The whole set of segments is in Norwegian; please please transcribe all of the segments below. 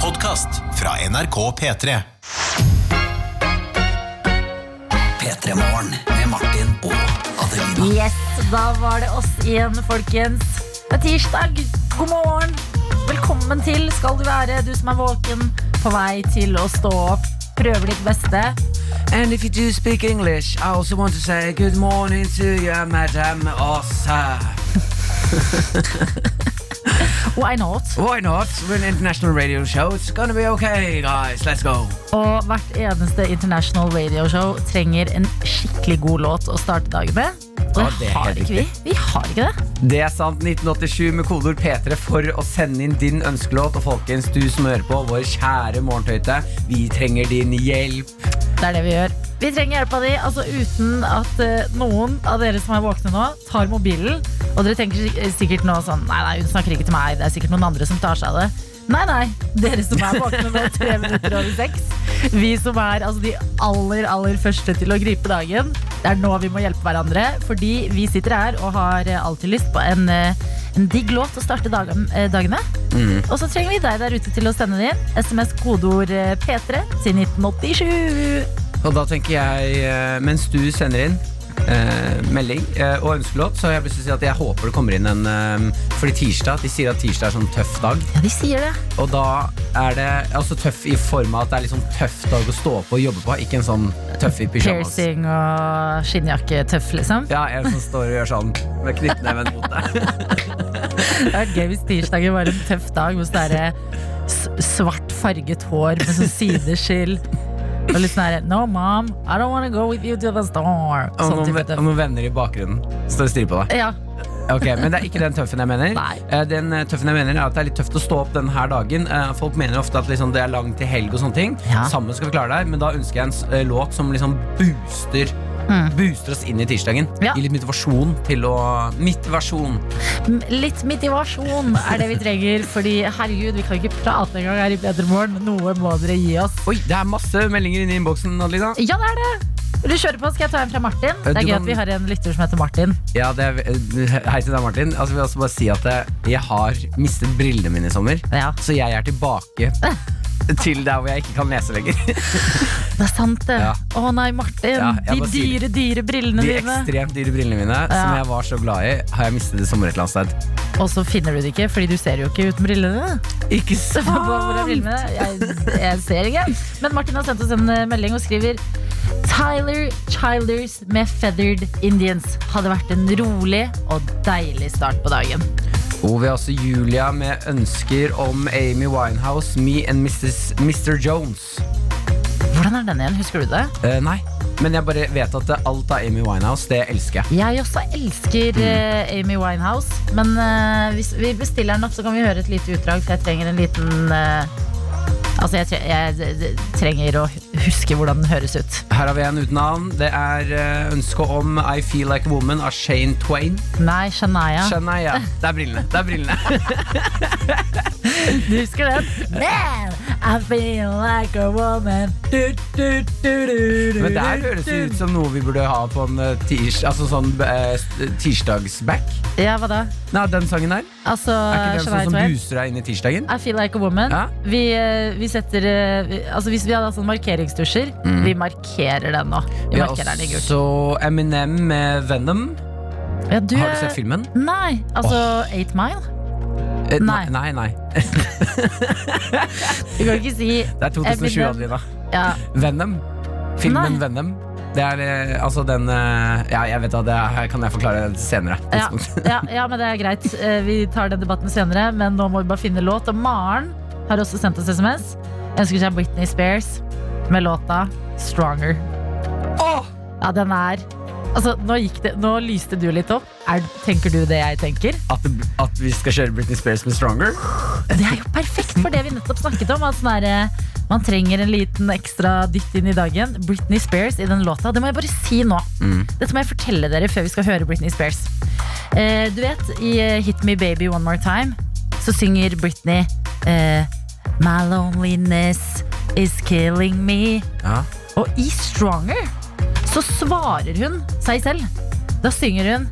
podkast fra NRK P3. P3 Morgen med Martin og Adelina. Yes, da var det oss igjen, folkens. Det er tirsdag. God morgen. Velkommen til skal du være, du som er våken, på vei til å stå opp. Prøve ditt beste. And if you do speak English, I also want to say good morning to you, madam or sir. Why not? Why not? We're an international radio show. It's gonna be okay, guys. Let's go. Og hvert eneste international radioshow trenger en skikkelig god låt å starte dagen med. Og Ja, det det er har helt ikke vi. Vi har ikke det. Det er sant. 1987 med kodeord P3 for å sende inn din ønskelåt. Og folkens, du som hører på, vår kjære morgentøyte, vi trenger din hjelp. Det er det vi gjør. Vi trenger hjelpa di, altså uten at eh, noen av dere som er våkne nå, tar mobilen. Og dere tenker sik- sikkert nå sånn Nei, nei, hun snakker ikke til meg. Det er sikkert noen andre som tar seg av det. Nei, nei. Dere som er våkne nå tre minutter over seks. Vi som er altså, de aller, aller første til å gripe dagen. Det er nå vi må hjelpe hverandre. Fordi vi sitter her og har eh, alltid lyst på en, eh, en digg låt å starte dagen, eh, dagen med. Og så trenger vi deg der ute til å sende det inn. SMS kodeord eh, P3 til 1987. Og da tenker jeg, eh, mens du sender inn eh, melding eh, og ønskelåt, så har jeg plutselig si at jeg håper det kommer inn en eh, Fordi tirsdag, de sier at tirsdag er sånn tøff dag. Ja, de sier det. Og da er det altså tøff i form av at det er litt sånn tøff dag å stå opp og jobbe på, ikke en sånn tøff i pyjamas. Piercing og skinnjakke tøff, liksom. Ja, en som står og gjør sånn med knyttneven mot deg. Det hadde vært gøy hvis tirsdagen var en tøff dag med sånn derre s- svart farget hår med sånn sideskill. Og litt sånn herre No, mom, I don't wanna go with you to the store. Og Sånn noen, type ve- og tøff. noen venner i bakgrunnen står og stirrer på deg. Ja, Ok, Men det er ikke den tøffen jeg mener. Nei. Eh, Den eh, tøffen jeg mener er at Det er litt tøft å stå opp denne dagen. Eh, Folk mener ofte at liksom det er langt til helg, og sånne ting Ja. sammen skal vi klare det her. Men da ønsker jeg en s- eh, låt som liksom booster Booster oss inn i tirsdagen. Mm. Ja. Gir litt motivasjon til å Mitivasjon. m- litt motivasjon er det vi trenger. Fordi herregud, vi kan ikke prate engang her i Bedre morgen. Noe må dere gi oss. Oi, det er masse meldinger inne i innboksen. Adelina. Ja, det er det. Vil du kjøre på? Skal jeg ta en fra Martin? Det Du er gøy kan- at vi har en lytter som heter Martin. Ja, det er, eh, hei til deg, Martin. Altså, jeg vil også bare si at jeg, jeg har mistet brillene mine i sommer. Ja. Så jeg er tilbake til der hvor jeg ikke kan lese lenger. Det er sant, det. Ja. Å nei, Martin. Ja, jeg de bare sier dyre, dyre brillene De dine. ekstremt dyre brillene mine som jeg var så glad i, har jeg mistet i sommer et eller annet sted. Og så finner du det ikke, fordi du ser jo ikke uten brillene. Ikke Så hva- hvor er brillene? Jeg, jeg ser ikke. Men Martin har sendt oss en eh, melding og skriver Tyler Childers med Feathered Indians hadde vært en rolig og deilig start på dagen. Og vi har også Julia med ønsker om Amy Winehouse, Me and Mrs. Mr. Jones. Hvordan er den igjen? Husker du det? Eh, nei, men jeg bare vet at alt av Amy Winehouse, det elsker jeg. Jeg også elsker eh, Amy Winehouse. Men eh, hvis vi bestiller den opp, så kan vi høre et lite utdrag, for jeg trenger en liten eh, Altså, jeg, tre jeg d- d- trenger å huske hvordan den høres ut. Her har vi en uten navn. Det er eh, ønsket om I Feel Like a Woman av Shane Twain. Nei, Shania. Skjønner jeg, ja. Det er brillene. Det er brillene. Du husker den? Man, I feel like a woman. Du, du, du, du, du, Men det her høres jo ut som noe vi burde ha på en eh, tirs, altså sånn eh, tirsdagsback. Ja, hva da? Nei, den sangen der. Altså, Er ikke den Shania sånn som Twain. buser deg inn i tirsdagen? I feel like a woman. Ja. Vi, eh, vi setter eh, vi, Altså, hvis vi hadde hatt sånn markeringstusjer, vi markerer den nå. Vi Mm. Vi har markerer den i gult. også Eminem med Venom. Ja, du Har du er- sett filmen? Nei, altså Eight Mile. Eh, Nei. Nei, nei. Du kan ikke si Det er 2007, Eminem. Adelina. ja, Venom. Filmen Nei. Venom. Det er eh, altså den eh, Ja, jeg vet at det er, her kan jeg forklare det senere. ja, ja, ja, men det er greit. Eh, Vi tar den debatten senere, men nå må vi bare finne låt. Og Maren har også sendt oss SMS. Ønsker seg Britney Spears med låta 'Stronger'. Åh! Ja, den er Altså, nå, gikk det, nå lyste du litt opp. Er, tenker du det jeg tenker? At, det- at vi skal kjøre Britney Spears med Stronger? Det er jo perfekt for det vi nettopp snakket om. At sånn der, eh, man trenger en liten ekstra dytt inn i dagen. Britney Spears i den låta. Det må jeg bare si nå. Dette må jeg fortelle dere før vi skal høre Britney Spears. Eh, du vet, i eh, Hit Me Baby One More Time så synger Britney eh, My loneliness is killing me. Ja. Og i Stronger så svarer hun seg selv. Da synger hun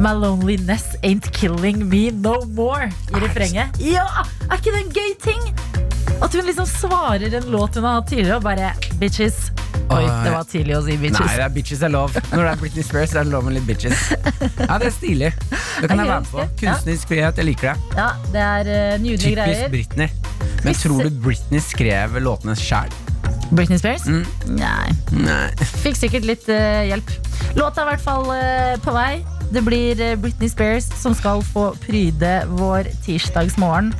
My loneliness ain't killing me no more i refrenget. Ja, Er ikke det en gøy ting? At hun liksom svarer en låt hun har hatt tidligere, og bare bitches. Oi, Oi. det var tidlig å si Nei, bitches. det er bitches er lov. Når det er Britney Spears, så er det lov med litt bitches. Ja, det er stilig. Det kan jeg være med på. Kunstnerisk frihet, jeg liker det. Ja, det er eh, nydelige Typisk greier. Britney. Men tror du Britney skrev låtene sjæl? Britney Spears? Mm. Nei. Nei. Fikk sikkert litt eh, hjelp. Låta er i hvert fall eh, på vei. Det blir eh, Britney Spears som skal få pryde vår tirsdagsmorgen.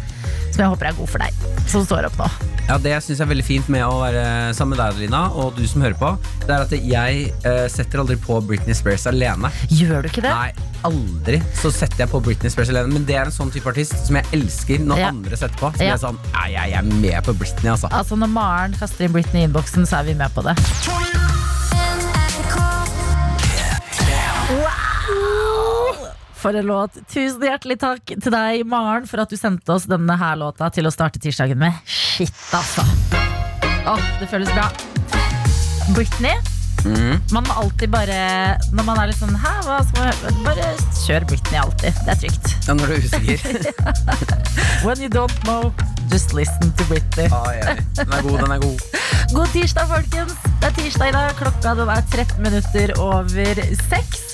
Som jeg håper er god for deg, som står opp nå. Ja, Det jeg synes er veldig fint med å være sammen med deg, Adelina, og du som hører på, det er at jeg eh, setter aldri på Britney Spears alene. Gjør du ikke det? Nei, aldri så setter jeg på Britney Spears alene. Men det er en sånn type artist som jeg elsker når Ja. andre setter på. Som Ja. jeg er sånn, «Nei, jeg er med på Britney, altså. Altså Når Maren kaster inn Britney i innboksen, så er vi med på det. Wow! For en låt. Tusen hjertelig takk til deg, Maren, for at du sendte oss denne her låta til å starte tirsdagen med. Shit, altså. Åh, det føles bra. Britney. Man må alltid bare Når man er litt sånn Hæ, hva skal man høre? på?" Bare kjør Britney alltid. Det er trygt. Ja, når du er usikker. When you don't know, just listen to Britney. Ai, ai. Den er god, den er god. God tirsdag, folkens. Det er tirsdag i dag. Klokka den er 13 minutter over 6.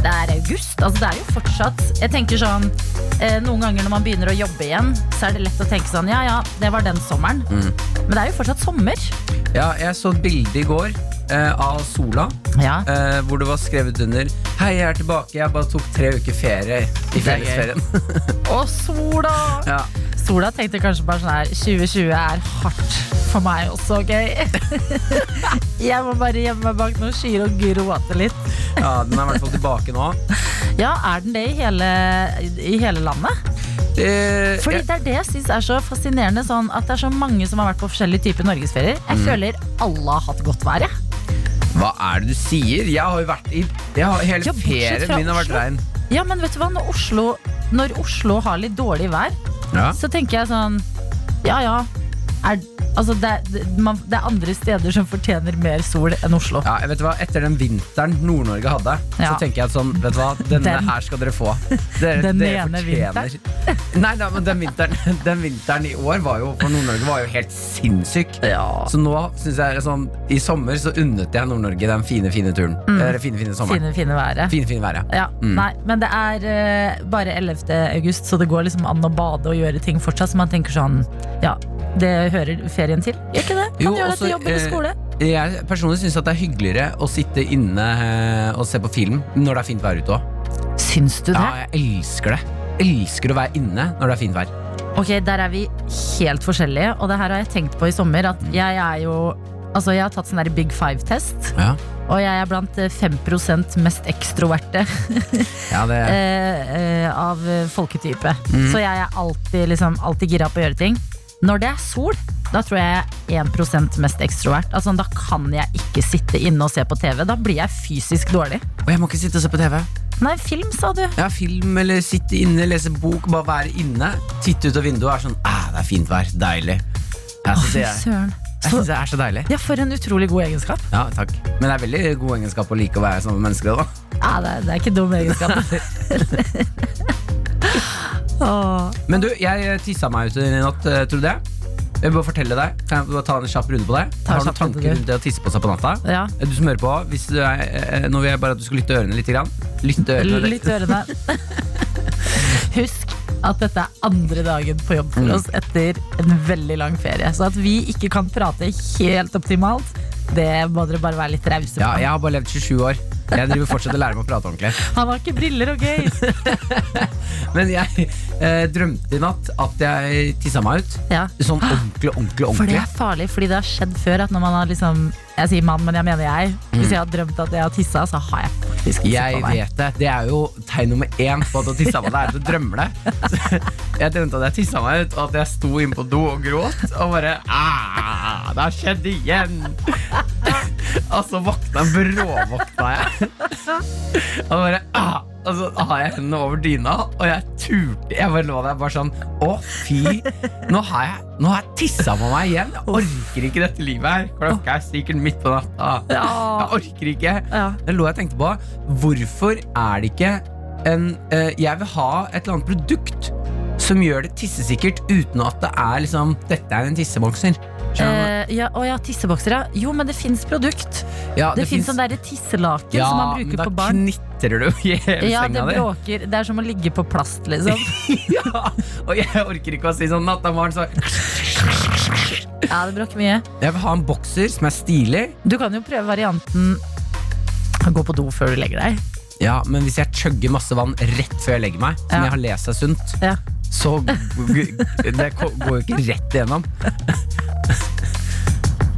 Det er august. Altså, det er jo fortsatt Jeg tenker sånn eh, Noen ganger når man begynner å jobbe igjen, så er det lett å tenke sånn Ja, ja, det var den sommeren. Men det er jo fortsatt sommer. Ja, jeg så et bilde i går eh, av sola. Ja. eh, hvor det var skrevet under 'Hei, jeg er tilbake. Jeg bare tok tre uker ferie i er gøy. fellesferien'. Og sola! ja. Sola tenkte kanskje bare sånn her 2020 er hardt for meg også, ok? jeg må bare gjemme meg bak noen skyer og gråte litt. ja, Den er i hvert fall tilbake nå. Ja, er den det i hele, i hele landet? Eh, Fordi jeg, det er det jeg synes er så fascinerende sånn At det er så mange som har vært på forskjellige typer norgesferier Jeg føler alle har hatt godt vær jeg. hva er det du sier? Jeg har jo vært i jeg har, Hele Ja, bortsett ferien fra min har vært Oslo. regn. Ja, men vet du hva? Når Oslo, når Oslo har litt dårlig vær Ja. Så tenker jeg sånn Ja, ja er, altså, det, er- det, man, det er andre steder som fortjener mer sol enn Oslo Ja, jeg vet hva, Etter den vinteren Nord-Norge hadde, Ja. så tenker jeg at sånn, vet du hva, denne Den- her skal dere få. Dere, Den dere ene fortjener. Nei, nei, men den vinteren, den vinteren i år var jo, for Nord-Norge var jo helt sinnssyk. Så nå synes jeg sånn, i sommer så unnet jeg Nord-Norge den fine, fine turen. Eller fine, fine sommeren. Fine, Mm. fine været Fine, fine været. ja, Nei, men det er eh, bare 11. august Så det går liksom an å bade og gjøre ting fortsatt Så man tenker sånn Ja, det hører ferien til Gjør ikke det? Man Jo, gjør det også, til jobb eller eh, skole Jeg personlig syns det er hyggeligere å sitte inne eh, og se på film når det er fint vær ute òg. Syns du det? Ja, jeg elsker det. Elsker å være inne når det er fint vær. Ok, der er vi helt forskjellige, og det her har jeg tenkt på i sommer. Mm. At jeg er jo Altså, jeg har tatt sånn der Big Five-test, Ja, og jeg er blant eh, 5 mest ekstroverte det eh, eh, av eh, folketype. Mm. Så jeg er alltid, liksom, alltid gira på å gjøre ting. Når det er sol, da tror jeg jeg er 1 mest ekstrovert. Altså, da kan jeg ikke sitte inne og se på TV. Da blir jeg fysisk dårlig. Og jeg må ikke sitte og se på TV. Nei, film, sa du. Ja, film eller sitte inne, lese bok, bare være inne. Titte ut av vinduet og er sånn ah, Det er fint vær. Deilig. Jeg synes det, er- Søren. jeg synes det er så deilig. Ja, for en utrolig god egenskap. Ja, takk. Men det er veldig god egenskap å like å være sammen med mennesker. Da. Ja, det, er- det er ikke dum egenskap. Åh. Men du, jeg tissa meg ut i natt, eh, tror du det? Jeg vil bare fortelle deg Kan jeg bare ta en kjapp runde på deg? Ta en Har du kjapp runde, tanker du. rundt det å tisse på seg på natta? Eh, Ja. Du som hører på, hvis du er, eh, nå vil jeg bare at du skal lytte ørene litt. Grann. Lytte ørene Litt ørene. Husk at dette er andre dagen på jobb Mm. for oss etter en veldig lang ferie. Så at vi ikke kan prate helt optimalt, det må dere bare være litt rause Ja, på. jeg har bare levd 27 år. Jeg driver fortsatt å lære meg å prate ordentlig. Han har ikke briller og gøy. Men jeg eh, drømte i natt at jeg tissa meg ut. Ja. Sånn ordentlig, ordentlig, For det ordentlig. er farlig, fordi det har skjedd før at når man har liksom Jeg sier mann, men jeg mener jeg. Hvis jeg har drømt at jeg har tissa, så har jeg faktisk tissa Mm. Jeg på meg. vet det. Det er jo tegn nummer én på at du har tissa på deg. er at Du drømmer det. Så Jeg drømte at jeg tissa meg ut, og at jeg sto inne på do og gråt. Og bare «Ah, Det har skjedd igjen! Og så våkna jeg, bråvåkna jeg. Og bare «Ah!» Og så har jeg hendene over dyna, og jeg turte Jeg bare lå der bare sånn Å, fy! Nå har jeg, nå har jeg tissa på meg igjen! Jeg orker ikke dette livet her. Klokka er sikkert midt på natta. Ja. Jeg orker ikke. Ja. Det lå jeg og tenkte på. Hvorfor er det ikke en eh, Jeg vil ha et eller annet produkt som gjør det tissesikkert uten at det er liksom Dette er en tissebokser. Skjønner du? Eh, ja, å ja, tissebokser, ja. Jo, men det fins produkt. Ja, Det, fins finnes- sånn derre tisselaken som man men bruker da på barn. knitrer du i hele Ja, det senga di. bråker. Det er som å ligge på plast, liksom. Ja, og jeg orker ikke å si sånn natta morgen, så Ja, det bråker mye. Jeg vil ha en bokser som er stilig. Du kan jo prøve varianten gå på do før du legger deg. Ja, men hvis jeg chugger masse vann rett før jeg legger meg, som Ja. jeg har lest er sunt, Ja. så g- g- det ko- går jo ikke rett igjennom.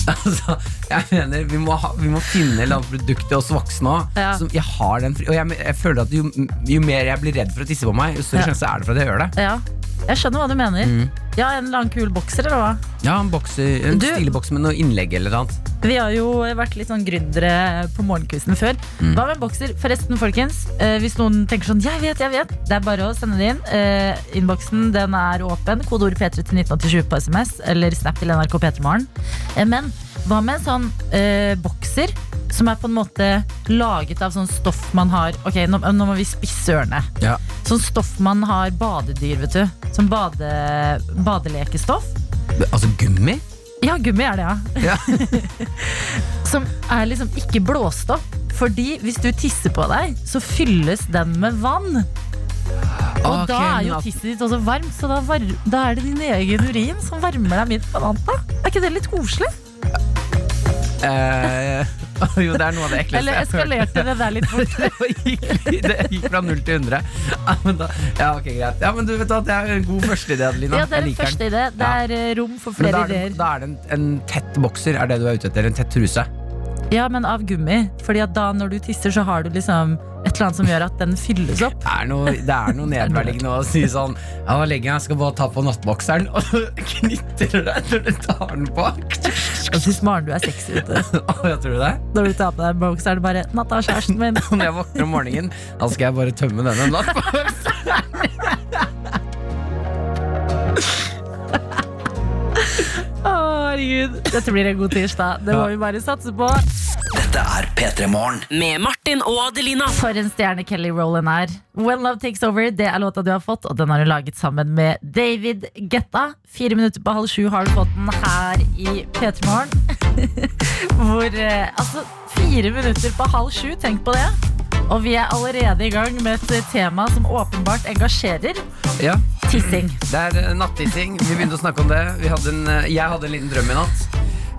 Altså, jeg mener, vi må, ha, vi må finne et eller annet produkt til oss voksne òg. Ja. Jeg har den fri, og jeg, jeg føler at jo, jo mer jeg blir redd for å tisse på meg, jo større Ja. sjanse er det for at jeg gjør det. Ja, jeg skjønner hva du mener. Mm. Ja, En eller annen kul bokser, eller hva? Ja, En, bokser, en Du- stilig boks med noe innlegg eller noe annet. Vi har jo vært litt sånn gründere på morgenkvisten før. Hva med en bokser? Forresten, folkens, eh, hvis noen tenker sånn Jeg vet, jeg vet, det er bare å sende det inn. Eh, Innboksen den er åpen. Kodeord P3 til 1987 på SMS eller Snap til NRK P3morgen. Eh, men hva med en sånn eh, bokser som er på en måte laget av sånn stoff man har Ok, nå, nå må vi spisse ørene. Ja. Sånn stoff man har badedyr, vet du. Som bade, badelekestoff. Altså gummi? Ja, gummi er det, ja. Ja. Som er liksom ikke blåst opp. Fordi hvis du tisser på deg, så fylles den med vann. Og Ok, da er men jo at- tisset ditt også varmt, så da, var da er det din egen urin som varmer deg midt på natta. Er ikke det litt koselig? eh, Jo, det er noe av det ekleste Eller jeg har hørt. eskalerte det der litt fort? det, var- gikk, det gikk fra 0 til 100. Ja, men da, ja, ok, greit. Ja, men du vet at Det er en god førsteidé, Adelina. Ja, Jeg det er den liker den. første idé. Det Ja. er eh, rom for Men da flere er det, ideer. da er det en, en tett bokser er det du er ute etter? En tett truse? Ja, men av gummi. Fordi at da når du tisser, så har du liksom et eller annet som gjør at den fylles opp. Det er noe, det er noe nedverdigende å si sånn Ja, nå legger jeg meg, skal bare ta på nattbokseren, og så knytter du deg når du tar den på. Jeg syns Maren du er sexy ute. Å, jeg tror det. Når du tar på deg en bok, så er det bare 'natta, kjæresten min'. Når jeg våkner om morgenen, da skal jeg bare tømme denne nattbokseren. Å, herregud. Dette blir en god tirsdag. Det må vi bare satse på. Dette er P3 Morgen. Med Martin og Adelina. For en stjerne Kelly Rowland er. When Love Takes Over, det er låta du har fått, og den har du laget sammen med David Getta. Fire minutter på halv sju har du fått den her i P3 Morgen. Hvor eh, Altså, fire minutter på halv sju, tenk på det. Og vi er allerede i gang med et tema som åpenbart engasjerer. Ja, Tissing. det er eh, nattissing. Vi begynte å snakke om det. Vi hadde en, eh, jeg hadde en liten drøm i natt.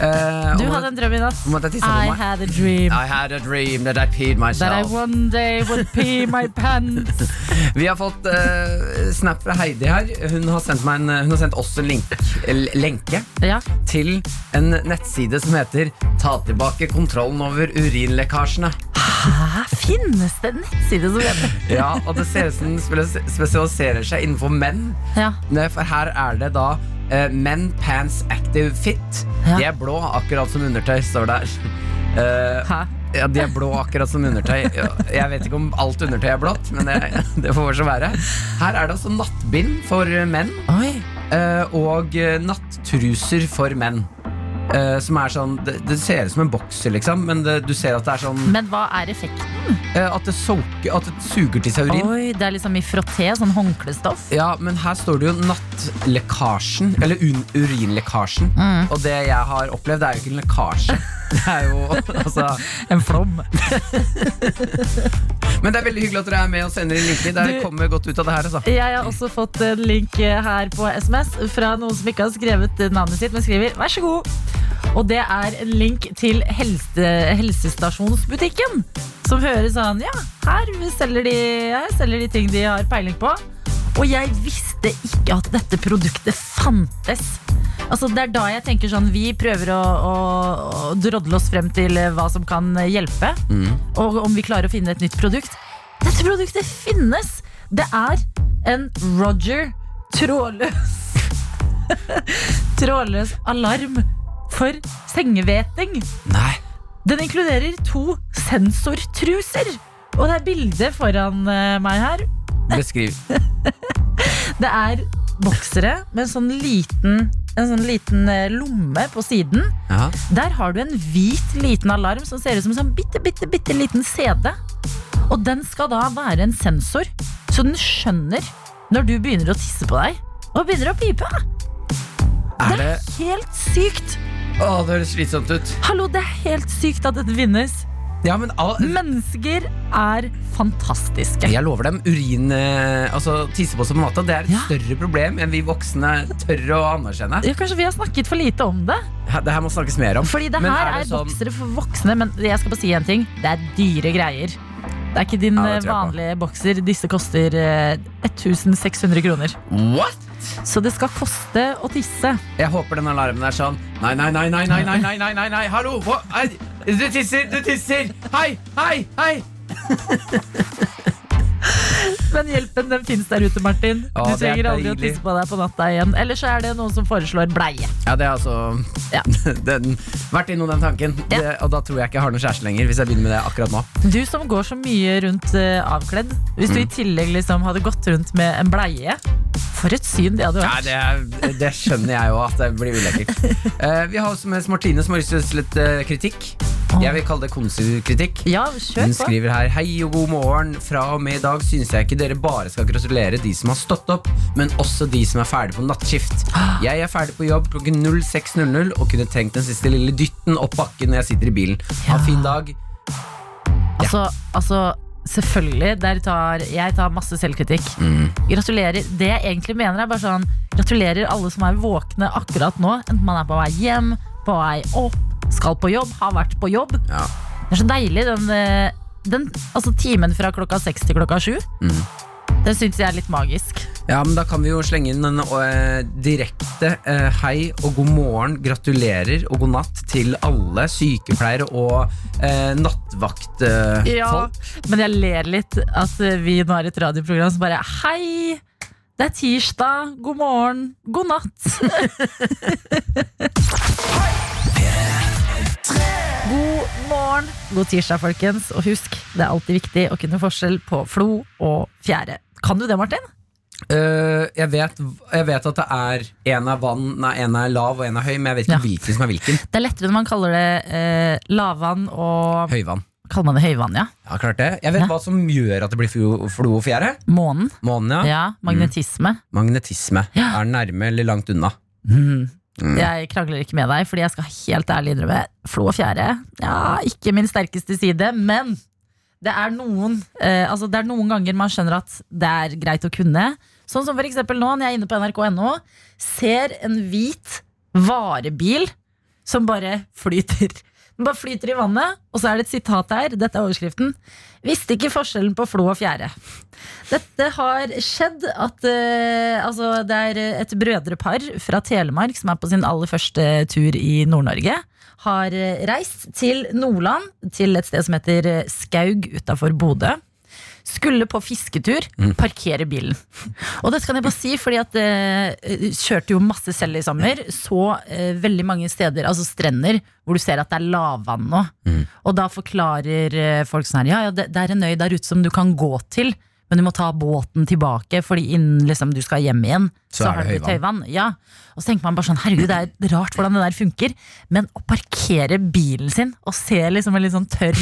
Eh, Du om- hadde en drøm i natt. Om at jeg tisset på I meg. had a dream I had a dream that I peed that I myself. one day would pee my pants. Vi har fått eh, snap fra Heidi her. Hun har sendt, meg en, eh, hun har sendt oss en link, eh, l- lenke Ja. til en nettside som heter Ta tilbake kontrollen over urinlekkasjene. Hæ, Ah, finnes det en nettside som heter Ja, og det ser ut som den spes- spesialiserer seg innenfor menn. Ja. Ne, For her er det da eh, Men Pants Active Fit. Ja. De er blå, akkurat som undertøy, står det her. Eh, Hæ? Ja, De er blå akkurat som undertøy. Ja, Jeg vet ikke om alt undertøy er blått, men det, det får så være. Her er det altså nattbind for menn eh, og eh, nattruser for menn. Eh, Som er sånn Det, det ser ut som en bokser, liksom, men det, du ser at det er sånn Men hva er effekten? eh, At det soaker At det suger til seg urin. Oi, det er liksom i frotté, sånn håndklestoff. Ja, men her står det jo nattlekkasjen, eller un urinlekkasjen. Og det jeg har opplevd, er jo ikke en lekkasje. Det er jo altså En flom. Men det er veldig hyggelig at dere er med og sender inn linker. Dere Du- kommer godt ut av det her. Altså. Jeg har også fått en link her på SMS fra noen som ikke har skrevet navnet sitt, men skriver 'vær så god'. Og det er en link til helse, helsestasjonsbutikken, som hører sånn Ja, her selger, de, her selger de ting de har peiling på. Og jeg visste ikke at dette produktet fantes. Altså, det er da jeg tenker sånn Vi prøver å, å, å drodle oss frem til eh, hva som kan eh, hjelpe. Og om vi klarer å finne et nytt produkt. Dette produktet finnes! Det er en Roger trådløs Trådløs alarm for sengehveting. Nei Den inkluderer to sensortruser. Og det er bilde foran eh, meg her. Beskriv. Det er boksere med en sånn liten, en sånn liten eh, lomme på siden. Ja. Der har du en hvit liten alarm som ser ut som en sånn bitte, bitte, bitte liten CD. Og den skal da være en sensor, så den skjønner når du begynner å tisse på deg og begynner å pipe. Er det Helt sykt! Å, det høres slitsomt ut. Hallo, det er helt sykt at dette vinnes. Ja, men all, Mennesker er fantastiske. jeg lover dem, urin eh, Altså tisse på som mat, det er et Ja. større problem enn vi voksne tør å anerkjenne. Ja, kanskje vi har snakket for lite om det? Her- Det her må snakkes mer om. Fordi det Men her er er, det sånn- boksere for voksne, men jeg skal bare si en ting. Det er dyre greier. Det er ikke din Ja, eh, det tror jeg på. vanlige bokser. Disse koster eh, 1600 kroner. What? Så det skal koste å tisse. Jeg håper den alarmen er sånn Nei, nei, nei, nei, nei, nei, nei, nei, nei, nei. hallo hva? Ei, Du tisser, du tisser Hei, hei, hei Men hjelpen den fins der ute, Martin. Ja, Du det er trenger aldri å deilig. tisse på deg på natta igjen. Eller så er det noen som foreslår bleie. Ja, det er altså Ja. den, Vært innom den tanken Ja. det, Og da tror jeg ikke jeg har noen kjæreste lenger Hvis jeg begynner med det akkurat nå Du som går så mye rundt eh, avkledd. Hvis Mm. du i tillegg liksom hadde gått rundt med en bleie, for et syn det hadde ja, vært. det, er- det skjønner jeg jo at det blir ulekkert Eh, Vi har også med oss Martine som har lyst til litt eh, kritikk Jeg vil kalle det konsulkritikk Ja, Hun kjør på. skriver her Hei og god morgen. Fra og med i dag syns jeg ikke dere bare skal gratulere de som har stått opp, men også de som er ferdig på nattskift. Jeg er ferdig på jobb klokken 06.00 og kunne trengt den siste lille dytten opp bakken når jeg sitter i bilen. Ha en fin dag. Altså, altså selvfølgelig. Der tar, jeg tar masse selvkritikk. Gratulerer. Det jeg egentlig mener, er bare sånn Gratulerer alle som er våkne akkurat nå. Enten man er på vei hjem, på vei opp, skal på jobb, har vært på jobb. Ja. Det er så deilig, den, eh, den altså timen fra klokka seks til klokka sju. Den syns jeg er litt magisk. Ja, men Da kan vi jo slenge inn en eh, direkte eh, hei og god morgen, gratulerer og god natt til alle sykepleiere og uh, nattvaktfolk. Men jeg ler litt at eh, vi nå er et radioprogram som bare Hei! Det er tirsdag. God morgen. God natt. God morgen. God tirsdag, folkens. Og husk, det er alltid viktig å kunne forskjell på flo og fjære. Kan du det, Martin? Eh, jeg, vet, jeg vet at det er en er vann, nei, en er lav og en er høy, men jeg vet ikke Ja. hvilken som er hvilken. Det er lettere når man kaller det eh, lavvann og Høyvann. Kaller man det høyvann, ja? Ja, klart det. Jeg vet Ja. hva som gjør at det blir flo, flo og fjære. Månen. Månen, ja. Ja. Magnetisme. Magnetisme. Ja. Er den nærme eller langt unna? Jeg krangler ikke med deg, fordi jeg skal helt ærlig innrømme Flo og fjære, ja, ikke min sterkeste side, men det er noen eh, altså Det er noen ganger man skjønner at det er greit å kunne. Sånn som for eksempel nå, når jeg er inne på nrk.no, ser en hvit varebil som bare flyter. Den bare flyter i vannet, og så er det et sitat her. Dette er overskriften. Visste ikke forskjellen på flo og fjære. Dette har skjedd at eh, altså, det er et brødrepar fra Telemark som er på sin aller første tur i Nord-Norge. Har eh, reist til Nordland, til et sted som heter eh, Skaug utafor Bodø. Skulle på fisketur, parkere bilen. Og dette kan jeg bare si, fordi at eh, kjørte jo masse selv i sommer. Så eh, veldig mange steder, altså strender, hvor du ser at det er lavvann nå. Og da forklarer eh, folk sånn her, ja, ja det, det er en øy der ute som du kan gå til, men du må ta båten tilbake, fordi innen liksom, du skal hjem igjen, Så så, er har du det blitt høyvann. Ja. Og så tenker man bare sånn, herregud, det er rart hvordan det der funker, men å parkere bilen sin og se liksom en litt sånn tørr,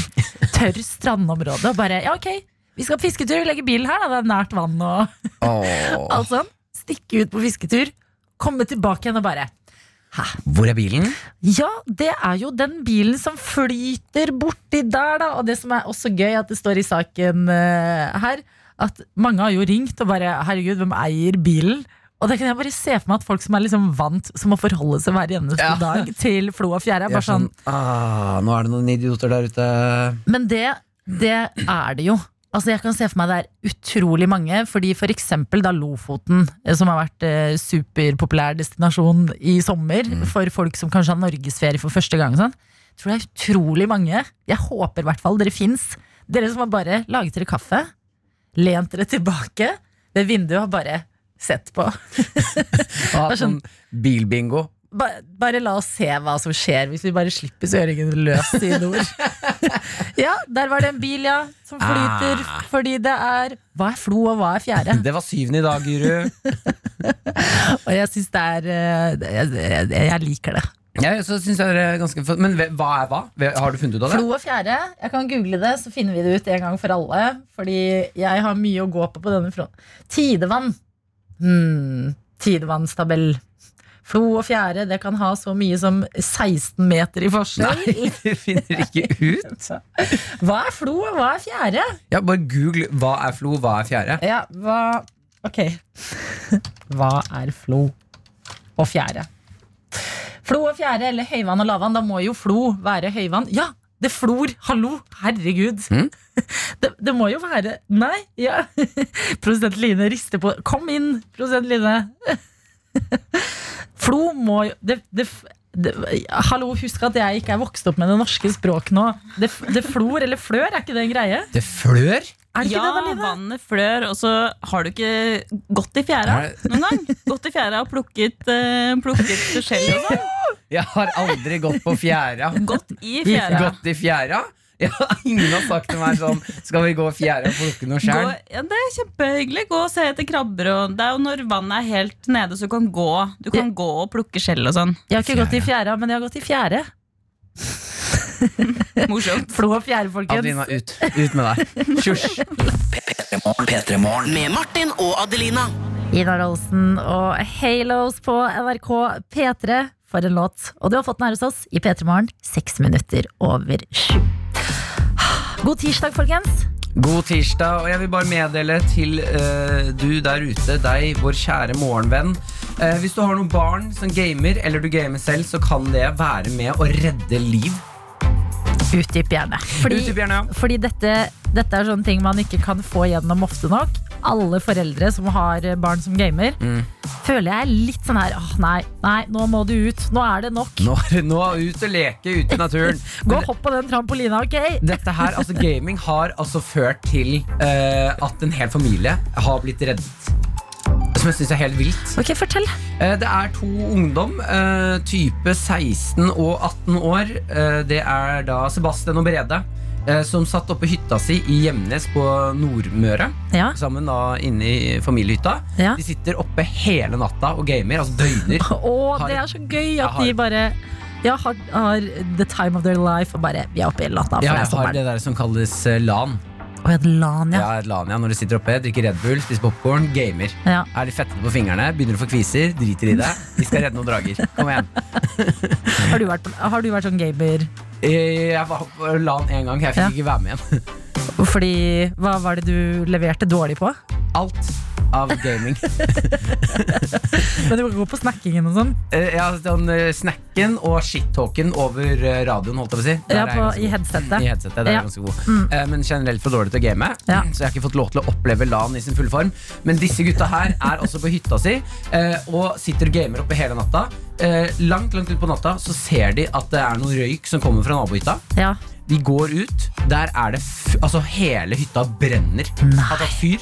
tørr strandområde, og bare, ja, ok, vi skal på fisketur, vi legger bilen her, da, det er nært vann og... Alt sånn. Stikke ut på fisketur, komme tilbake igjen og bare Hvor er bilen? ja, det er jo den bilen som flyter borti der, da. Og det som er også gøy, at det står i saken eh, her, at mange har jo ringt og bare Herregud, hvem eier bilen? Og det kan jeg bare se for meg at folk som er liksom vant, som må forholde seg hver eneste Ja. dag til Flo og Fjære, er Jeg er bare sånn sånn, ah, nå er det noen idioter der ute. Men det, det er det jo. Altså jeg kan se for meg det er utrolig mange, fordi for eksempel da Lofoten, eh, som har vært eh, superpopulær destinasjon i sommer, for folk som kanskje har norgesferie for første gang, og sånn, jeg tror det er utrolig mange. Jeg håper i hvert fall dere fins. Dere som har bare laget dere kaffe, lent dere tilbake ved vinduet og bare sett på. Og hatt Det er sånn sånn- bilbingo. Ba- bare la oss se hva som skjer hvis vi bare slipper søringen løs i nord. ja, der var det en bil, ja, som flyter Ah. fordi det er Hva er flo, og hva er fjære? Det var syvende i dag, Guru. Og jeg syns det er eh, det- jeg, jeg, jeg liker det. Ja, så synes jeg det er ganske fun- Men ve- hva er hva? Ve- Har du funnet ut av det? Flo og fjære. Jeg kan google det, så finner vi det ut en gang for alle. Fordi jeg har mye å gå på på denne fronten. Tidevann Hmm, tidevannstabell. Flo og fjære det kan ha så mye som 16 meter i forskjell. Nei, det finner ikke ut. Hva er flo, og hva er fjære? Ja, Bare google 'hva er flo', 'hva er fjære'? Ja, hva Ok. Hva er flo og fjære? Flo og fjære eller høyvann og lavvann? Da må jo flo være høyvann. Ja! Det flor! Hallo! Herregud. Det, det må jo være Nei, ja. Produsent Line rister på Kom inn, produsent Line. Flo må jo det, det, det, Hallo, husk at jeg ikke er vokst opp med det norske språk nå. Det, det flor eller flør, er ikke det en greie? Det flør? Er det ikke Ja, det, da, Line? vannet flør, og så har du ikke gått i fjæra Nei. noen gang. Gått i fjæra og plukket, eh, plukket skjell og sånn. Jeg har aldri gått på fjæra. Gått i fjæra. Gått i fjæra? Ja, ingen har sagt til meg sånn Skal vi gå i fjæra og plukke noe Gå, skjær? ja, det er kjempehyggelig. Gå og se etter krabber. Og det er jo når vannet er helt nede, så du kan gå, du kan gå og plukke skjell og sånn. Jeg har ikke gått i fjæra, men jeg har gått i fjære. Morsomt. Flo og fjære, folkens. Adelina, ut. Ut med deg. Tjusj. P3morgen. P3morgen. Med Martin og Adelina. Ina Rolsen og Halos på NRK P3 for en låt. Og du har fått den her hos oss i P3 Morgen, seks minutter over sju. God tirsdag, folkens. God tirsdag, og jeg vil bare meddele til eh, du der ute, deg, vår kjære morgenvenn. Eh, hvis du har noen barn som gamer, eller du gamer selv, så kan det være med å redde liv. Utdyp gjerne. Utdyp gjerne, ja. fordi dette, dette er sånne ting man ikke kan få gjennom ofte nok. Alle foreldre som har barn som gamer, Mm. føler jeg er litt sånn her Åh, nei, nei, nå må du ut. Nå er det nok. Nå, er det- nå ut og leke ute i naturen. Gå og hopp på den trampolina, OK? Dette her, altså Gaming har altså ført til eh, at en hel familie har blitt reddet. Som jeg syns er helt vilt. Ok, fortell. Eh, det er to ungdom, eh, type 16 og 18 år. Eh, det er da Sebastian og Brede, eh, som satt oppe i hytta si i Gjemnes på Nordmøre. Ja. Sammen da inne i familiehytta. Ja. De sitter oppe hele natta og gamer, altså døgner. Og Har- det er så gøy at Jeg har- de bare ja, har, har the time of their life og bare Vi er oppe i natta, for Ja, det er jeg har sommeren. det der som kalles eh, LAN. Og et LAN, ja. Ja, LAN, ja. Når de sitter oppe, drikker Red Bull, spiser popkorn, gamer. Ja. Er de fettete på fingrene, begynner å få kviser, driter i det. Vi skal redde noen drager. Kom igjen. Har, du vært, på- har du vært sånn gamer? Eh, Jeg var på LAN en gang, jeg fikk Ja. ikke være med igjen. Fordi hva var det du leverte dårlig på? Alt av gaming. Men du var god på snakkingen og sånn. Eh, Ja, sånn eh, snacken og shit-talken over eh, radioen, holdt jeg på å si. Der Ja, er jeg på, ganske I god. headsetet. I headsetet, der er Ja. jeg Mm. ganske god. Eh, Men generelt for dårlig til å game, Ja. så jeg har ikke fått lov til å oppleve LAN i sin fulle form. Men disse gutta her er altså på hytta si eh, og sitter og gamer oppe hele natta. Eh, Langt, langt ut på natta så ser de at det er noe røyk som kommer fra nabohytta. Ja. De går ut, der er det f Altså hele hytta brenner Har tatt fyr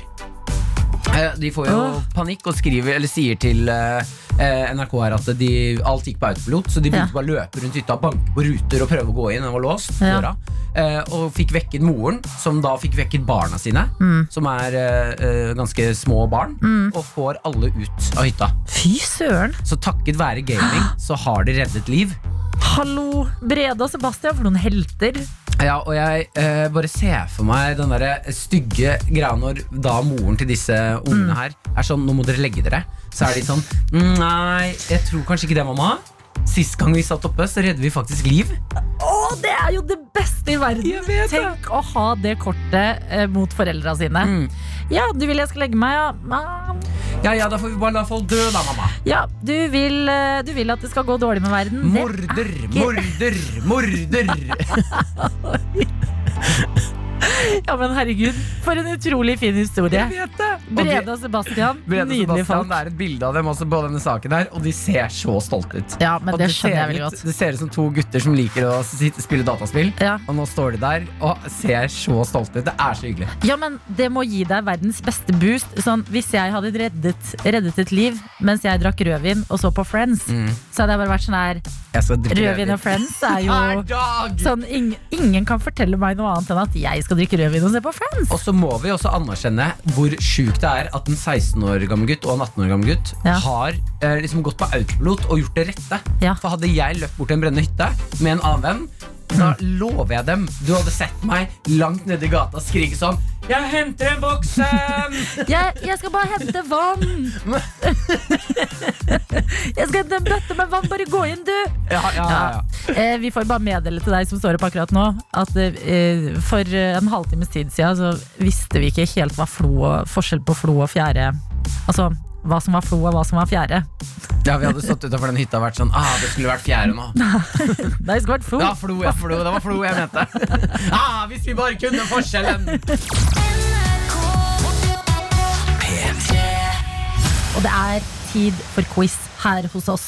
Eh, De får jo Åh. panikk og skriver Eller sier til eh, eh, NRK her at de, Alt gikk på autopilot Så de Ja. begynte bare å løpe rundt hytta Banke på ruter og prøve å gå inn Den var låst Ja. døra Eh, og fikk vekket moren, som da fikk vekket barna sine, Mm. som er eh, eh, ganske små barn, og får alle ut av hytta. Fy søren! Så takket være gaming, så har de reddet liv. Hallo, Brede og Sebastian, for noen helter. Ja, og jeg eh, bare ser for meg den der stygge greia når da moren til disse Mm. ungene her er sånn Nå må dere legge dere. Så er de sånn Nei, jeg tror kanskje ikke det, mamma. Sist gang vi satt oppe, så redder vi faktisk liv. Å, det er jo det beste i verden! Jeg vet det. Tenk å ha det kortet eh, mot foreldra sine. Mm. Ja, du vil jeg skal legge meg, ja. Ah, Ja, ja, da får vi bare la folk dø, da, mamma. Ja, du vil, eh, du vil at det skal gå dårlig med verden. Det- Morder, morder, morder. Ja, men herregud, for en utrolig fin historie. vet det. Brede og Sebastian, nydelige folk. Det er et bilde av dem også på denne saken her, og de ser så stolte ut. Ja, men Og det ser skjønner jeg veldig ut- godt. Det ser ut som to gutter som liker å sitte, spille dataspill. Ja. Og nå står de der og ser så stolte ut. Det er så hyggelig. ja, men det må gi deg verdens beste boost. Sånn, hvis jeg hadde reddet, reddet et liv mens jeg drakk rødvin og så på Friends, så hadde jeg bare vært sånn her Jeg skal drikke Rødvin og Friends er Hver jo dag! sånn ingen, ingen kan fortelle meg noe annet enn at jeg skal drikke rødvin og se på Friends. Og så må vi også anerkjenne hvor sjukt det er at en 16 år gammel gutt og en 18 år gammel gutt Ja. har eh, liksom gått på autopilot og gjort det rette. Ja. For hadde jeg løpt bort til en brennende hytte med en annen venn Da lover jeg dem Du hadde sett meg langt nede i gata skrike sånn Jeg henter en voksen! Jeg, jeg skal bare hente vann! Jeg skal hente en bøtte med vann. Bare gå inn, du! ja, ja, ja, ja. Eh, vi får bare meddele til deg som står opp akkurat nå, at eh, for eh, en halvtimes tid siden så visste vi ikke helt hva flo og, forskjell på flo og fjære Altså hva som var flo og hva som var fjære. Ja, Vi hadde stått utafor den hytta og vært sånn ah, Det skulle vært fjerde nå. Nei, det skulle vært flo. Ja, flo, ja, flo, det var flo jeg mente. Ah, hvis vi bare kunne forskjellen! Og det er tid for quiz her hos oss.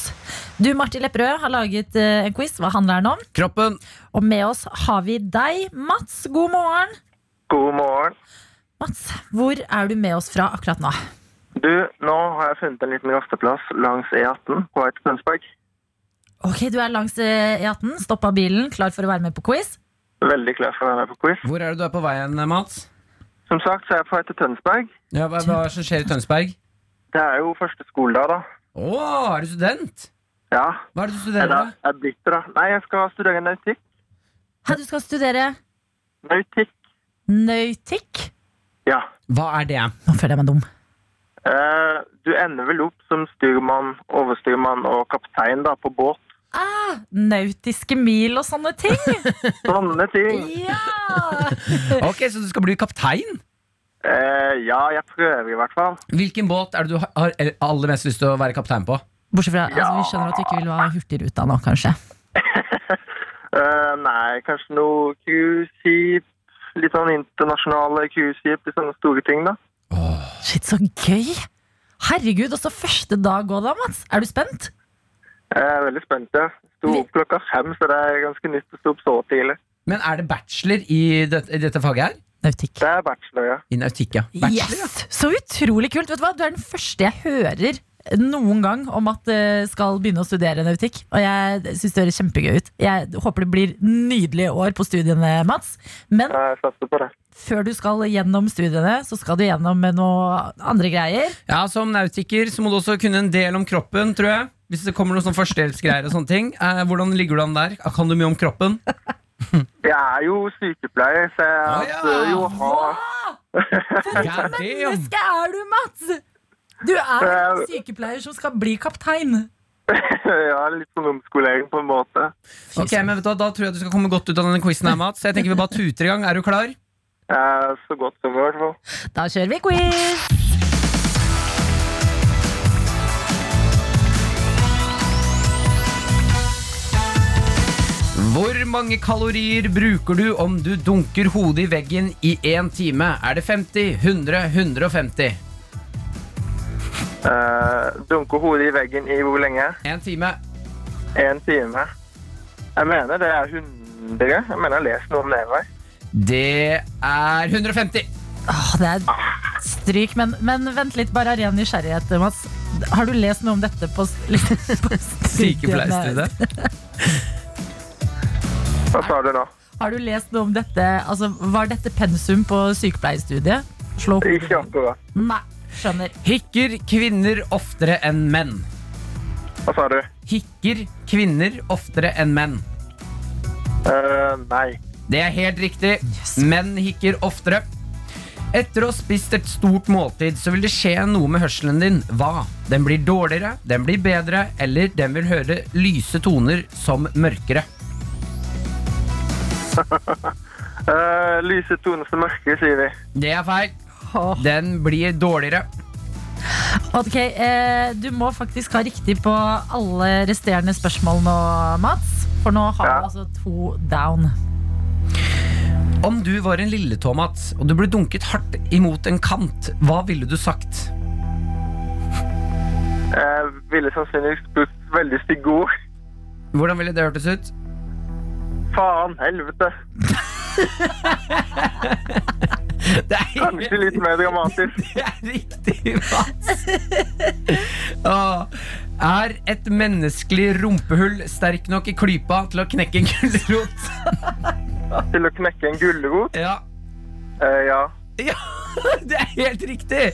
Du, Martin Lepperød, har laget eh, en quiz. Hva handler den om? Kroppen. Og med oss har vi deg, Mats. God morgen. God morgen. Mats, hvor er du med oss fra akkurat nå? Du, nå har jeg funnet en liten rasteplass langs E18 på vei til Tønsberg. Ok, Du er langs eh, E18, stoppa bilen, klar for å være med på quiz. Veldig klar for å være med på quiz. Hvor er det du er på veien, Mats? Som sagt så er jeg på vei til Tønsberg. Ja, hva, hva er det som skjer i Tønsberg? Det er jo første skoledag, da. Å, er du student? Ja. Hva er det du Jeg studerer? da- da? jeg er blitt det, da. Nei, jeg skal studere nautikk. Hæ, du skal studere Nautikk. nautikk. Ja. Hva er det? Nå føler jeg meg dum. Eh, du ender vel opp som styrmann, overstyrmann og kaptein da, på båt. Ah, nautiske mil og sånne ting. Sånne ting. ja! Ok, Så du skal bli kaptein? Eh, ja, jeg prøver i hvert fall. Hvilken båt er det du har- har aller mest lyst til å være kaptein på? Bortsett fra altså, Vi skjønner at du ikke vil ha Hurtigruta nå, kanskje. Eh, nei, kanskje noe cruiseskip. Litt sånn internasjonale cruiseskip, litt sånne store ting, da. Shit, så gøy! Herregud, også første dag òg, da, Mats. Er du spent? Jeg er veldig spent, ja. Sto opp klokka fem, så det er ganske nytt å stå opp så tidlig. Men er det bachelor i, det, i dette faget her? Nautikk. Det er bachelor, ja. I nautikk, ja. Bachelor, ja. Yes! Så utrolig kult. Vet Du hva? Du er den første jeg hører noen gang om at eh, skal begynne å studere nautikk. Og jeg syns det høres kjempegøy ut. Jeg håper det blir nydelige år på studiene, Mats. Men Jeg satser på det. før du skal gjennom studiene, så skal du gjennom med noe andre greier. Ja, Som nautiker så må du også kunne en del om kroppen, tror jeg. Hvis det kommer noen sånn førstehjelpsgreier og sånne ting. Eh, hvordan ligger du an der? Kan du mye om kroppen? Jeg er jo sykepleier, så Å, ja. jeg bør jo ha God damn! Menneske er du, Mats! Du er en Jeg- sykepleier som skal bli kaptein. ja, litt sånn omskolering på en måte. Ok, men vet du hva, Da tror jeg du skal komme godt ut av denne quizen her, Mats. Så jeg tenker vi bare tuter i gang. Er du klar? Eh, så godt som i hvert fall. Da kjører vi quiz! Hvor mange kalorier bruker du om du dunker hodet i veggen i én time? Er det 50, 100, 150? Eh, dunke hodet i veggen i hvor lenge? Én time. En time. Jeg mener det er 100. Jeg mener jeg har lest noe om det i meg. Det er 150. Åh, det er stryk, men, men vent litt, bare av ren nysgjerrighet, Mats. Har du lest noe om dette på, s- på studiene? Sykepleierstudiet. Hva sa du nå? Har du lest noe om dette? Altså, var dette pensum på sykepleierstudiet? Slå Ikke akkurat. Nei, skjønner. Hikker kvinner oftere enn menn. Hva sa du? Hikker kvinner oftere enn menn. Eh, nei. Det er helt riktig. Menn hikker oftere. Etter å ha spist et stort måltid så vil det skje noe med hørselen din. Hva? Den blir dårligere, den blir bedre, eller den vil høre lyse toner som mørkere. Eh, lyse toner som mørke, sier vi. Det er feil. Åh. Den blir dårligere. Ok, eh, Du må faktisk ha riktig på alle resterende spørsmål nå, Mats. For nå har Ja. du altså to down. Om du var en lilletå, Mats, og du ble dunket hardt imot en kant, hva ville du sagt? Jeg ville sannsynligvis brukt veldig stygge ord. Hvordan ville det hørtes ut? Faen, helvete. Det er Kanskje litt mer dramatisk. Det er riktig, Mats. Åh. Er et menneskelig rumpehull sterk nok i klypa til å knekke en gulrot? Til å knekke en gulrot? Ja. Eh, ja. ja. Det er helt riktig!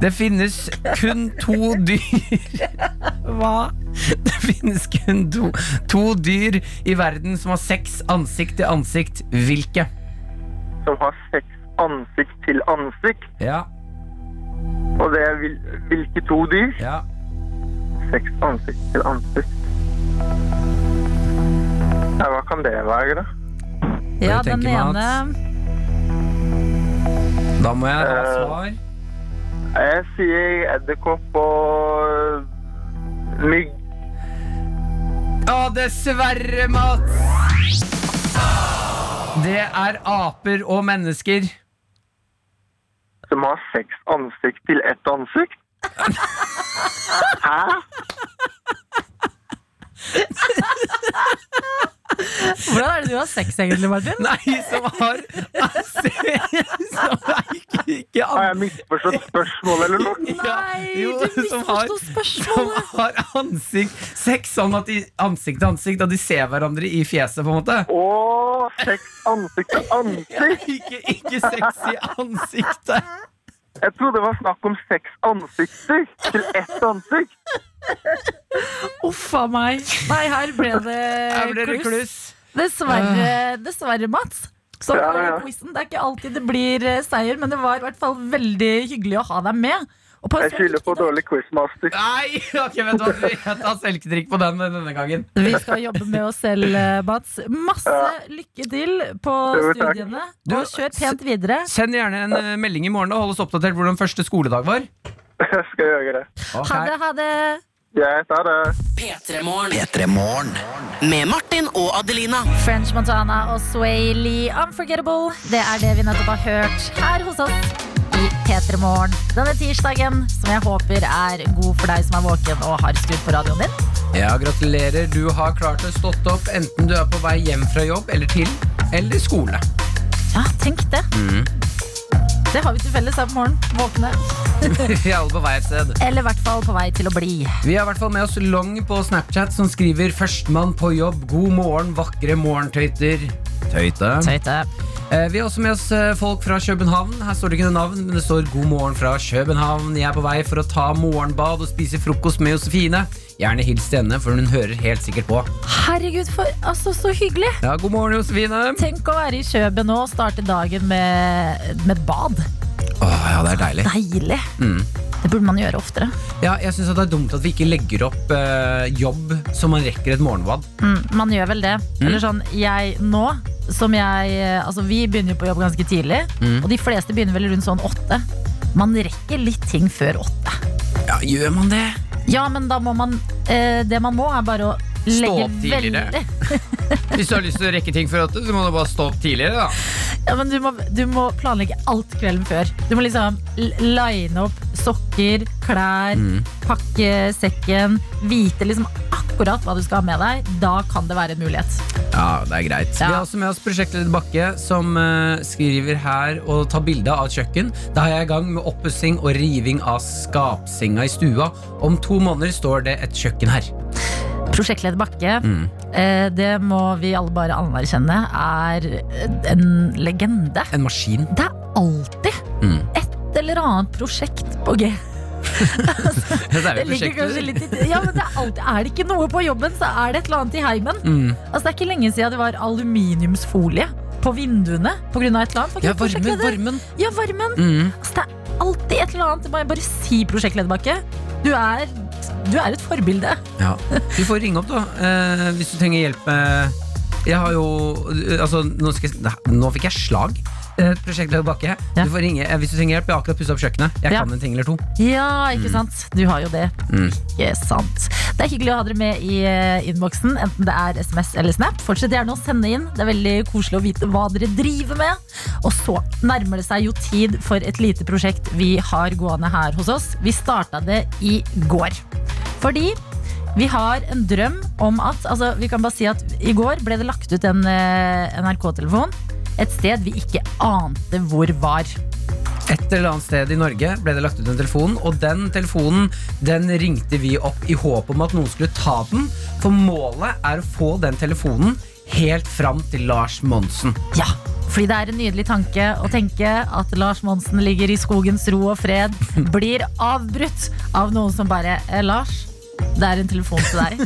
Det finnes kun to dyr Hva? Det finnes kun to, to dyr i verden som har sex ansikt til ansikt. Hvilke? som har sex ansikt til ansikt. Ja, Og det er hvil, hvilke to dyr? ja. Sex ansikt til ansikt. Ja, hva kan det være, da? Ja, tenker den meg ene at- Da må jeg ha svar. Jeg sier edderkopp og mygg. Å, dessverre, Mats! Det er aper og mennesker. Som har seks ansikt til ett ansikt? Hæ? Hvordan er det du har sex egentlig, Martin? Nei, som har altså, Som er ikke, ikke Har an- jeg misforstått spørsmålet eller noe? Ja, jo, som har- Som spørsmålet! har ansikt sex sånn at de ansikt til ansikt, og de ser hverandre i fjeset, på en måte. Å, seks ansikt til ansikt? Ikke, ikke sex i ansiktet. Jeg trodde det var snakk om seks ansikter til ett ansikt. Uff a meg. Nei, her ble det, Her ble det kluss. kluss. Ah. Dessverre, dessverre, Mats. Så Ja, var det ja. quizen. Det er ikke alltid det blir eh, seier, men det var i hvert fall veldig hyggelig å ha deg med. Og på en Jeg så skylder på viktig dag. dårlig quizmaster. Nei, ok, vet du hva, du, jeg tar selvkritikk på den denne gangen. Vi skal jobbe med oss selv, eh, Mats. Masse lykke til på Jo, takk. studiene. Du, Og kjør pent videre. Send gjerne en eh, melding i morgen og hold oss oppdatert hvordan første skoledag var. Jeg skal gjøre det. Ha det, ha det. Jeg tar det. P3morgen. P3morgen. Med Martin og Adelina. French Montana og Sway Lee Unforgettable. Det er det vi nettopp har hørt her hos oss i P3 Morgen denne tirsdagen, som jeg håper er god for deg som er våken og har skrudd på radioen din. Ja, gratulerer. Du har klart å stått opp enten du er på vei hjem fra jobb eller til eller skole. Ja, tenk det. Det har vi til felles her på morgenen. Våkne. Vi er alle på vei et sted. Eller i hvert fall på vei til å bli. Vi har i hvert fall med oss Long på Snapchat, som skriver 'Førstemann på jobb'. God morgen, vakre morgentøyter. Tøyte. Tøyte. Eh, Vi har også med oss eh, folk fra København. Her står det ikke noe navn, men det står 'God morgen fra København'. Jeg er på vei for å ta morgenbad og spise frokost med Josefine. Gjerne hils til henne, for hun hører helt sikkert på. Herregud, for, altså, så hyggelig! Ja, god morgen, Josefine. Tenk å være i Kjøben nå og starte dagen med, med bad. Åh, ja, det er deilig. Deilig! Det burde man gjøre oftere. Ja, jeg synes at det er dumt at vi ikke legger opp eh, jobb så man rekker et morgenbad. Mm, man gjør vel det. Eller sånn, jeg nå som jeg, eh, altså Vi begynner jo på jobb ganske tidlig, Mm. og de fleste begynner vel rundt sånn åtte. Man rekker litt ting før åtte. Ja, gjør man det? Ja, men da må man eh, Det man må, er bare å legge opp veldig tidligere. Hvis du har lyst til å rekke ting før åtte, så må du bare stå opp tidligere. da Ja, men du må, du må planlegge alt kvelden før. Du må liksom l- line opp sokker, klær, Mm. Mm. pakke sekken. Vite liksom akkurat hva du skal ha med deg. Da kan det være en mulighet. Ja, det er greit. Vi har også med oss prosjektleder Bakke, som eh, skriver her og tar bilde av et kjøkken. Da er jeg i gang med oppussing og riving av skapsenga i stua. Om to måneder står det et kjøkken her. Prosjektleder Bakke, Mm. eh, det må vi alle bare anerkjenne, er eh, en legende. En maskin. Det er alltid Mm. et eller annet prosjekt på G. Det er Det jo ligger kanskje prosjektleder. litt i Ja, men det er, alltid, er det ikke noe på jobben, så er det et eller annet i heimen. Mm. Altså, det er ikke lenge siden det var aluminiumsfolie på vinduene pga. et eller annet. Var ikke Ja, det varmen, prosjektleder? varmen. Ja, varmen. Mm. Altså, det er alltid et eller annet. Bare, bare si prosjektleder Bakke. Du er, du er et forbilde. Ja. Du får ringe opp, da, eh, hvis du trenger hjelp med Jeg har jo Altså, nå, skal jeg, nå fikk jeg slag. Eh, Prosjektleder Bakke, Ja. du får ringe eh, hvis du trenger hjelp. Jeg har akkurat pussa opp kjøkkenet. Jeg Ja. kan en ting eller to. Ja, ikke sant? Du har jo det. Mm. Ikke sant. Det er hyggelig å ha dere med i eh, innboksen, enten det er SMS eller Snap. Fortsett gjerne å sende inn. Det er veldig koselig å vite hva dere driver med. Og så nærmer det seg jo tid for et lite prosjekt vi har gående her hos oss. Vi starta det i går. Fordi vi har en drøm om at altså, Vi kan bare si at i går ble det lagt ut en eh, NRK-telefon et sted vi ikke ante hvor var. Et eller annet sted i Norge ble det lagt ut en telefon, og den telefonen den ringte vi opp i håp om at noen skulle ta den. For målet er å få den telefonen helt fram til Lars Monsen. Ja, Fordi det er en nydelig tanke å tenke at Lars Monsen ligger i skogens ro og fred, blir avbrutt av noen som bare eh, Lars, det er en telefon til deg.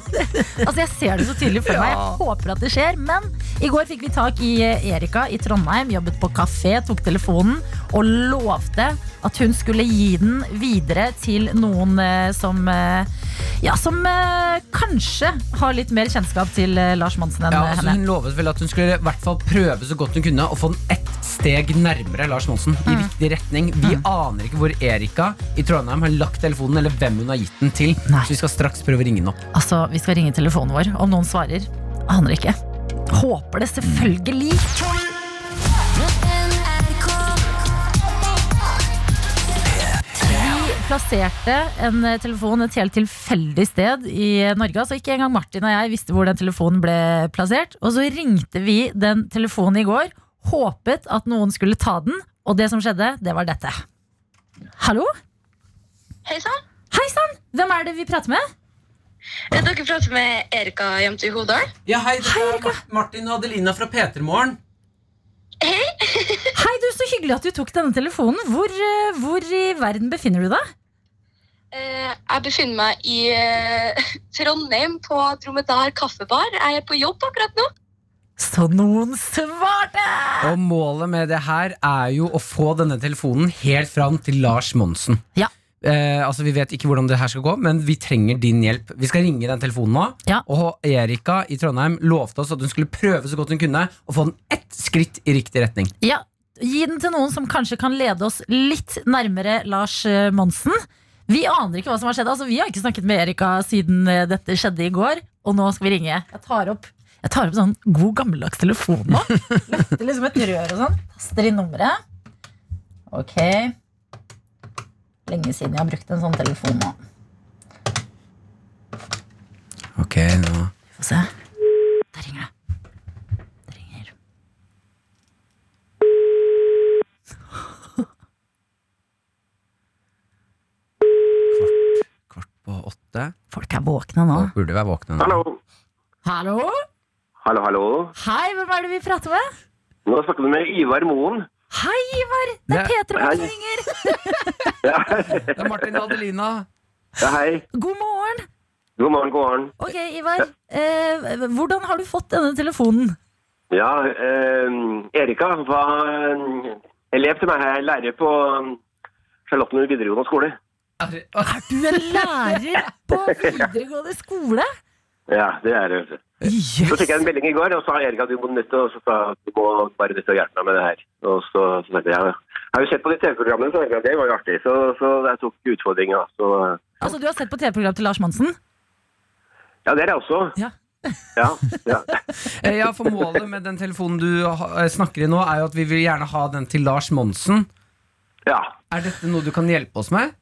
altså Jeg ser det så tydelig for meg. Jeg håper at det skjer. Men i går fikk vi tak i eh, Erika i Trondheim. Jobbet på kafé, tok telefonen og lovte at hun skulle gi den videre til noen eh, som eh, Ja, som eh, kanskje har litt mer kjennskap til eh, Lars Monsen enn Ja, eh, altså henne. hun lovet vel at hun skulle i hvert fall prøve så godt hun kunne å få den ett steg nærmere Lars Monsen. I Mm. riktig retning. Vi aner ikke hvor Erika i Trondheim har lagt telefonen, eller hvem hun har gitt den til. Nei. Så vi skal straks prøve å ringe den opp. Altså, vi skal ringe telefonen vår. Om noen svarer, aner ikke. Håper det selvfølgelig. Vi plasserte en eh, telefon et helt tilfeldig sted i eh, Norge. Altså ikke engang Martin og jeg visste hvor den telefonen ble plassert. Og så ringte vi den telefonen i går, håpet at noen skulle ta den, og det som skjedde, det var dette. Hallo? Hei sann! Hei sann! Hvem er det vi prater med? Eh, Dere prater med Erika hjemme til Hodal. Ja, hei, det er Martin og Adelina fra P3morgen. Hei, du, så hyggelig at du tok denne telefonen. Hvor, eh, hvor i verden befinner du deg? Eh, Jeg befinner meg i eh, Trondheim på Dromedar kaffebar. Jeg er på jobb akkurat nå. Så noen svarte! Og målet med det her er jo å få denne telefonen helt fram til Lars Monsen. Ja. Eh, altså Vi vet ikke hvordan det her skal gå, men vi trenger din hjelp. Vi skal ringe den telefonen nå. Ja. Og Erika i Trondheim lovte oss at hun skulle prøve så godt hun kunne å få den ett skritt i riktig retning. Ja, Gi den til noen som kanskje kan lede oss litt nærmere Lars eh, Monsen. Vi aner ikke hva som har skjedd. Altså, vi har ikke snakket med Erika siden eh, dette skjedde i går. Og nå skal vi ringe. Jeg tar opp, jeg tar opp sånn god gammeldags telefon nå. Løfter liksom et rør og sånn. Taster inn nummeret. Ok. Lenge siden jeg har brukt en sånn telefon nå. Ok, nå Få se. Der ringer det. Det ringer. Kvart på åtte. Folk er våkne nå. Folk burde være våkne nå. Hallo. Hallo? Hallo, hallo. Hei, hvem er det vi prater med? Nå snakker du med Ivar Moen. Hei, Ivar! Det er Det- Petra som Hei. ringer. Ja, Det er Martin og Adelina. ja, hei. God morgen. God morgen, god morgen. Ok, Ivar. Eh, hvordan har du fått denne telefonen? Ja, eh, Erika var eh, elev til meg her, lærer på eh, Charlottenlund videregående skole. Er Du er lærer på videregående skole. Ja, det er det. vet du. Så fikk jeg en melding i går, og så sa Erika du må nødt til å, så sa, jeg, du må bare nødt til å hjelpe meg med det her. Og så, så tenkte jeg, jeg har jo sett på de TV-programmene, så tenkte jeg, det var jo artig. Så, så jeg tok utfordringa. Så eh, Altså, Du har sett på TV-program til Lars Monsen? ja, det er jeg også. Ja. Ja, ja. Eh, Ja, for målet med den telefonen du ha- eh, snakker i nå, er jo at vi vil gjerne ha den til Lars Monsen. ja. Er dette noe du kan hjelpe oss med?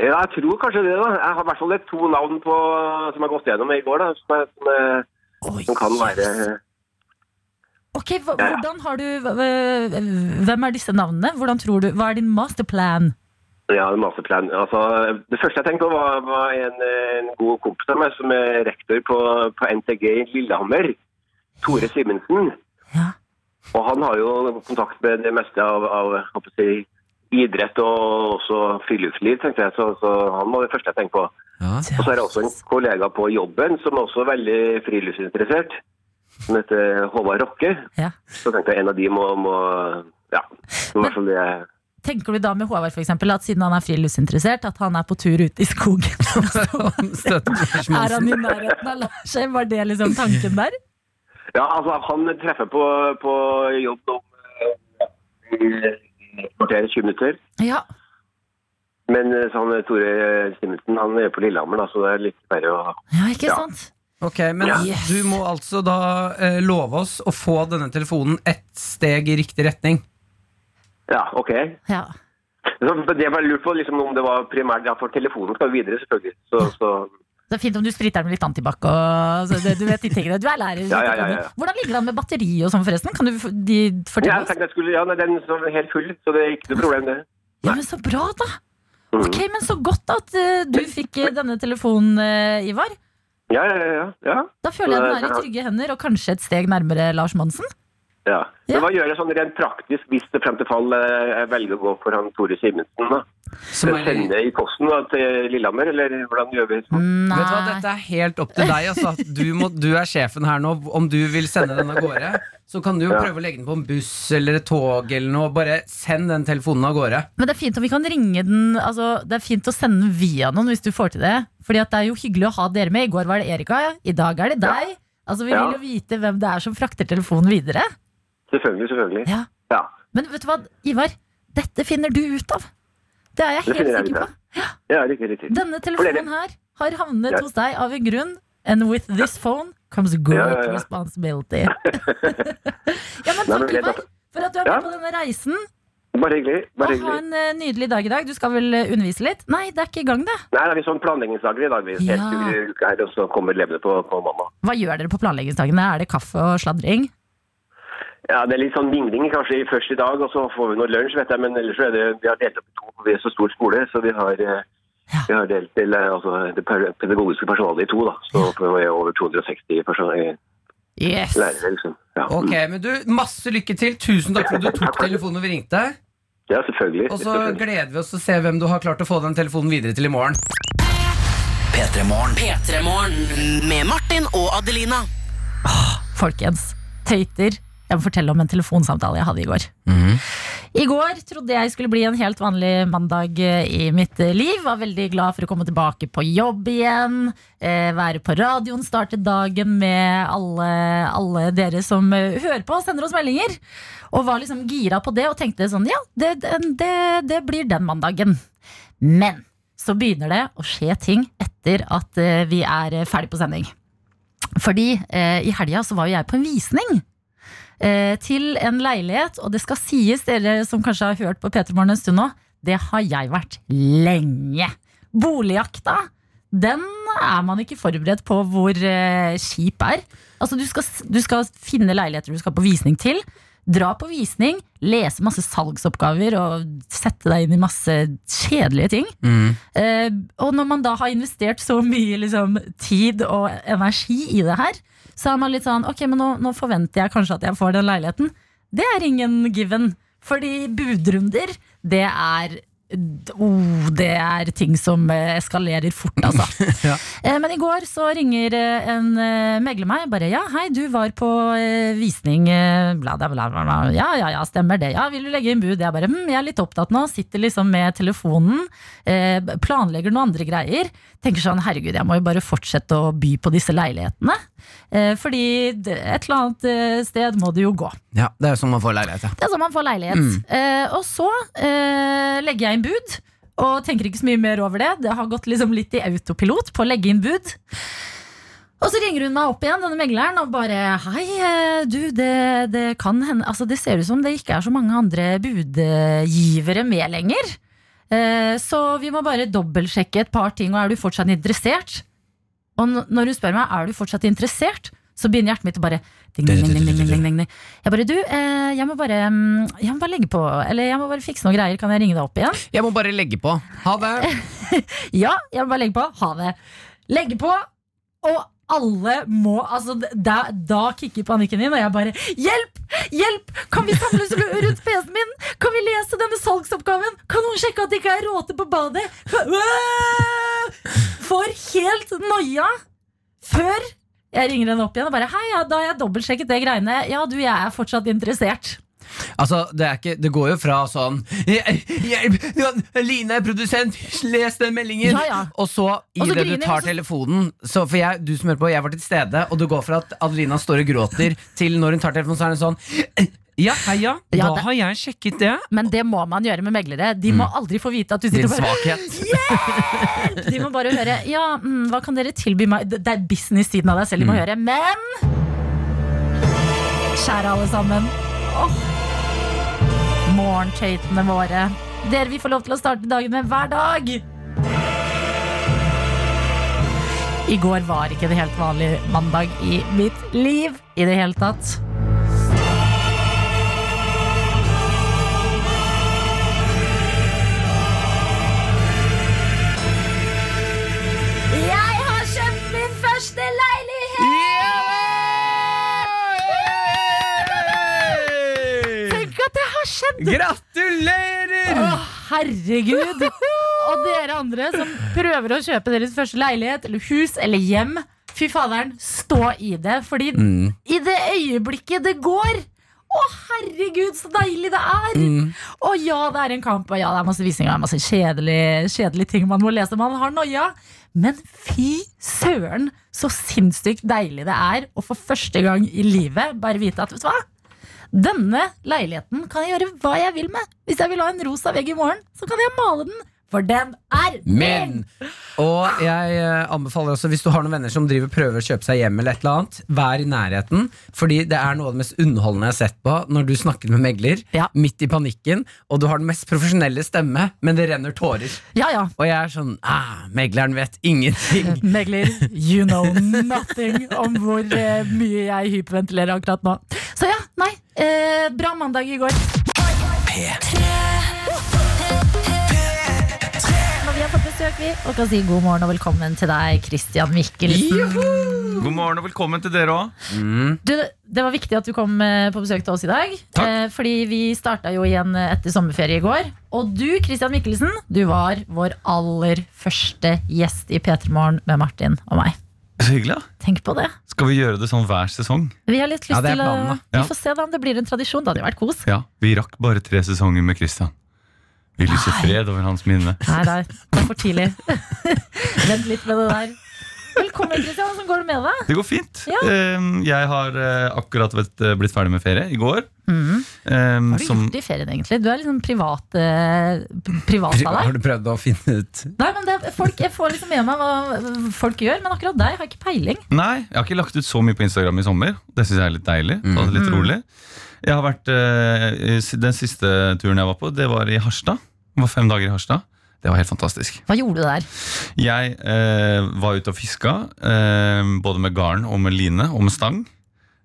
Ja, jeg tror kanskje det, da. Jeg har i hvert fall et to navn på, som jeg har gått gjennom i går, da, som, er- som, er- Oi, som kan være Ok, hva- Ja, ja. hvordan har du hva- Hvem er disse navnene? Hvordan tror du, Hva er din masterplan? ja, en masterplan. Altså, det første jeg tenkte på, var, var en, en god kompis av meg som er rektor på, på NTG i Lillehammer. Tore Simensen. Ja. Og han har jo kontakt med det meste av, av jeg håper å si, idrett og også friluftsliv, tenkte jeg. Så, så han var det første jeg tenkte på. Ja. Og så er det også en kollega på jobben som er også veldig friluftsinteressert, som heter Håvard Rokke. Ja. Så tenkte jeg en av de må, må ja, i hvert fall det. Tenker du da med Håvard for eksempel, at siden han er friluftsinteressert, at han er på tur ute i skogen? Støtter Lars er han Monsen. i nærheten av Lars? Var det liksom tanken der? Ja, altså han treffer på, på jobb om eh, et kvarter, 20 minutter. Ja. Men eh, så han, Tore Simensen han er på Lillehammer, da, så det er litt verre å ja, ikke Ja. sant? Ok, men Yes. du må altså da eh, love oss å få denne telefonen ett steg i riktig retning. Ja, OK. Ja. Så Det jeg bare lurte på liksom, om det var primært ja, for telefonen skal videre, selvfølgelig. Så, så Det er fint om du spriter med litt antibac. og- så det- Du vet de tingene. Du er lærer. Ja, ja, ja, ja. Hvordan ligger det an med batteri og sånn, forresten? Kan du f- de ja, fortelle jeg oss? tenkte jeg skulle Ja, nei, den er helt full, så det er ikke noe problem, det. Ja, men så bra, da! Mhm. Ok, men Så godt at eh, du fikk eh, denne telefonen, eh, Ivar. Ja, ja, ja. ja, ja. Eh, Da føler jeg den er i trygge hender, og kanskje et steg nærmere Lars Monsen. Ja. Ja. Men hva gjør jeg sånn rent praktisk hvis det frem til fall eh, jeg velger å gå for han Tore Simensen? da? Som er, vet Sende i posten da, til Lillehammer, eller hvordan gjør vi sånn? det? du hva, Dette er helt opp til deg. Altså. Du, må, du er sjefen her nå. Om du vil sende den av gårde, så kan du jo Ja. prøve å legge den på en buss eller et tog. eller noe Bare send den telefonen av gårde. Men det er fint om vi kan ringe den altså, Det er fint å sende den via noen hvis du får til det. Fordi at det er jo hyggelig å ha dere med. I går var det Erika, ja. i dag er det deg. Altså, Vi Ja. vil jo vite hvem det er som frakter telefonen videre. Selvfølgelig, selvfølgelig. Ja. Ja. Men vet du hva, Ivar? Dette finner du ut av. Det er jeg Det helt finner jeg ut sikker av. på. Ja, riktig, riktig. Denne telefonen her har havnet Ja. hos deg av en grunn. And with this phone comes great Ja, ja, ja. responsibility. ja, Nei, men men takk, det er Ivar, bra. for at du er med Ja. på denne reisen. Bare hyggelig. bare Og ha hyggelig. en eh, nydelig dag i dag. Du skal vel eh, undervise litt? Nei, det er ikke i gang, det. Nei, det er litt sånn planleggingsdager i dag. Vi Ja. helt uker i uka her, og så kommer elevene på, på mamma. Hva gjør dere på planleggingsdagene? Er det kaffe og sladring? Ja, det er litt sånn vingling kanskje i- først i dag, og så får vi noe lunsj, vet jeg. Men ellers så er det, vi har delt opp i to, for vi er så stor skole, så vi har, eh, Ja. vi har delt til, eh, altså, det per- pedagogiske personalet i to, da. Så vi er over 260 person- eh, Yes! lærere, liksom. Ja, mm. Ok, men du, Masse lykke til. Tusen takk for at du tok telefonen og vi ringte. ja selvfølgelig. Og så selvfølgelig. gleder vi oss til å se hvem du har klart å få den telefonen videre til i morgen. P3morgen. P3morgen med Martin og Adelina. Folkens, tøyter. Jeg må fortelle om en telefonsamtale jeg hadde i går. I går trodde jeg skulle bli en helt vanlig mandag eh, i mitt eh, liv. Var veldig glad for å komme tilbake på jobb igjen. Eh, være på radioen, starte dagen med alle, alle dere som eh, hører på og sender oss meldinger. Og var liksom gira på det og tenkte sånn ja, det, det, det- det blir den mandagen. Men så begynner det å skje ting etter at eh, vi er eh, ferdig på sending. Fordi eh, i helga så var jo jeg på en visning eh, til en leilighet, og det skal sies, dere som kanskje har hørt på P3morgen en stund nå, det har jeg vært lenge. Boligjakta, den er man ikke forberedt på hvor eh, kjip er. Altså, du skal, s- du skal finne leiligheter du skal på visning til. Dra på visning, lese masse salgsoppgaver og sette deg inn i masse kjedelige ting. Eh, og når man da har investert så mye liksom, tid og energi i det her, så er man litt sånn Ok, men nå, nå forventer jeg kanskje at jeg får den leiligheten. Det er ingen given. Fordi budrunder, det er oh, Det er ting som eh, eskalerer fort, altså. Eh, Men i går så ringer eh, en eh, megler meg bare Ja, hei, du var på eh, visning eh, bla, bla, bla, bla, bla. Ja, ja, ja, stemmer det. Ja, vil du legge inn bud? Jeg bare, hm, jeg er litt opptatt nå. Sitter liksom med telefonen. eh, Planlegger noen andre greier. Tenker sånn, herregud, jeg må jo bare fortsette å by på disse leilighetene. Eh, Fordi det- et eller annet eh, sted må det jo gå. Ja, Det er jo sånn man får leilighet. ja. Det er sånn man får leilighet. Eh, og så eh, legger jeg inn bud, og tenker ikke så mye mer over det. Det har gått liksom litt i autopilot på å legge inn bud. Og så ringer hun meg opp igjen, denne megleren, og bare Hei, eh, du, det, det kan hende Altså, det ser ut som det ikke er så mange andre budgivere med lenger. Eh, så vi må bare dobbeltsjekke et par ting, og er du fortsatt interessert? Og n- når hun spør meg er du fortsatt interessert, så begynner hjertet mitt å bare ding, ding, ding, ding, ding, ding, ding, ding. Jeg bare, du, eh, jeg må bare, mm, jeg må bare legge på, eller jeg må bare fikse noen greier, kan jeg ringe deg opp igjen? Jeg må bare legge på. Ha det. Ja, jeg må bare legge på. Ha det. Legge på, og alle må Altså, da, da kicker panikken inn, og jeg bare Hjelp! Hjelp! Kan vi samles ru- rundt PC-en min? Kan vi lese denne salgsoppgaven? Kan noen sjekke at det ikke er råte på badet? Åh! Får helt noia før jeg ringer henne opp igjen og bare Hei, ja, da har jeg dobbeltsjekket det greiene. Ja, du, jeg er fortsatt interessert. Altså, det, er ikke, det går jo fra sånn Hjelp! Line er produsent! Les den meldingen! Ja, ja. Og så, i Og så det du griner tar vi, så- telefonen så, For jeg, du som hører på, jeg var til stede, og det går fra at Adelina står og gråter, til når hun tar telefonen, så er hun sånn Ja, heia! Da Ja, det- har jeg sjekket det! Men det må man gjøre med meglere. De må aldri få vite at du Din sitter og bare svakhet. De må bare høre Ja, mm, hva kan dere tilby meg? Det det er business-siden av deg selv de må høre. Men Kjære alle sammen. Åh. Morgentøytene våre. Dere vi får lov til å starte dagen med hver dag. I går var ikke en helt vanlig mandag i mitt liv i det hele tatt. Jeg har kjøpt min første leilighet! Gratulerer! Å, herregud! Og dere andre som prøver å kjøpe deres første leilighet eller hus eller hjem, fy faderen, stå i det. Fordi i det øyeblikket det går å, herregud, så deilig det er! Og ja, det er en kamp, og ja, det er masse visninger, det er masse kjedelige, kjedelige ting man må lese. Man har noia. Men fy søren, så sinnssykt deilig det er å for første gang i livet bare vite at vet du hva? Denne leiligheten kan jeg gjøre hva jeg vil med. Hvis jeg vil ha en rosa vegg i morgen, så kan jeg male den, for den er min! Men! Og jeg eh, anbefaler også, hvis du har noen venner som driver prøver å kjøpe seg hjem, eller et eller annet, vær i nærheten. Fordi det er noe av det mest underholdende jeg har sett på når du snakker med megler Ja. midt i panikken, og du har den mest profesjonelle stemme, men det renner tårer. Ja, ja. Og jeg er sånn ah, Megleren vet ingenting. Megler, you know nothing om hvor eh, mye jeg hyperventilerer akkurat nå. Så ja, nei. Eh, bra mandag i går. Og vi har fått besøk, vi, og kan si god morgen og velkommen til deg, Christian Mikkelsen. God morgen og velkommen til dere òg. Du, det var viktig at du kom eh, på besøk til oss i dag. Eh, fordi vi starta jo igjen eh, etter sommerferie i går. Og du, Christian Mikkelsen, du var vår aller første gjest i P3 Morgen med Martin og meg. Så hyggelig, da. Tenk på det. Skal vi gjøre det sånn hver sesong? Vi har litt lyst Ja, det er til å planen, da. Vi Ja. får se da om det blir en tradisjon. Det hadde jo vært kos. Ja. Vi rakk bare tre sesonger med Christian. Vi lyser fred over hans minne. Nei, nei, det er for tidlig. Vent litt med det der. Velkommen, Christian. Hvordan går det med deg? Det går fint. Ja. Ehm, Jeg har eh, akkurat vet- blitt ferdig med ferie i går. Mm. Ehm, Hva har du som- gjort i ferien, egentlig? Du er liksom privat, eh, p- privat av deg. Har du prøvd å finne ut Nei, men det, er- folk, Jeg får liksom med meg hva folk gjør, men akkurat deg har jeg ikke peiling. Nei, jeg har ikke lagt ut så mye på Instagram i sommer. Det syns jeg er litt deilig. ta det Mm. Litt rolig. Jeg har vært, eh, i- Den siste turen jeg var på, det var i Harstad. Det var fem dager i Harstad. Det var helt fantastisk. Hva gjorde du der? Jeg eh, var ute og fiska, eh, både med garn og med line og med stang.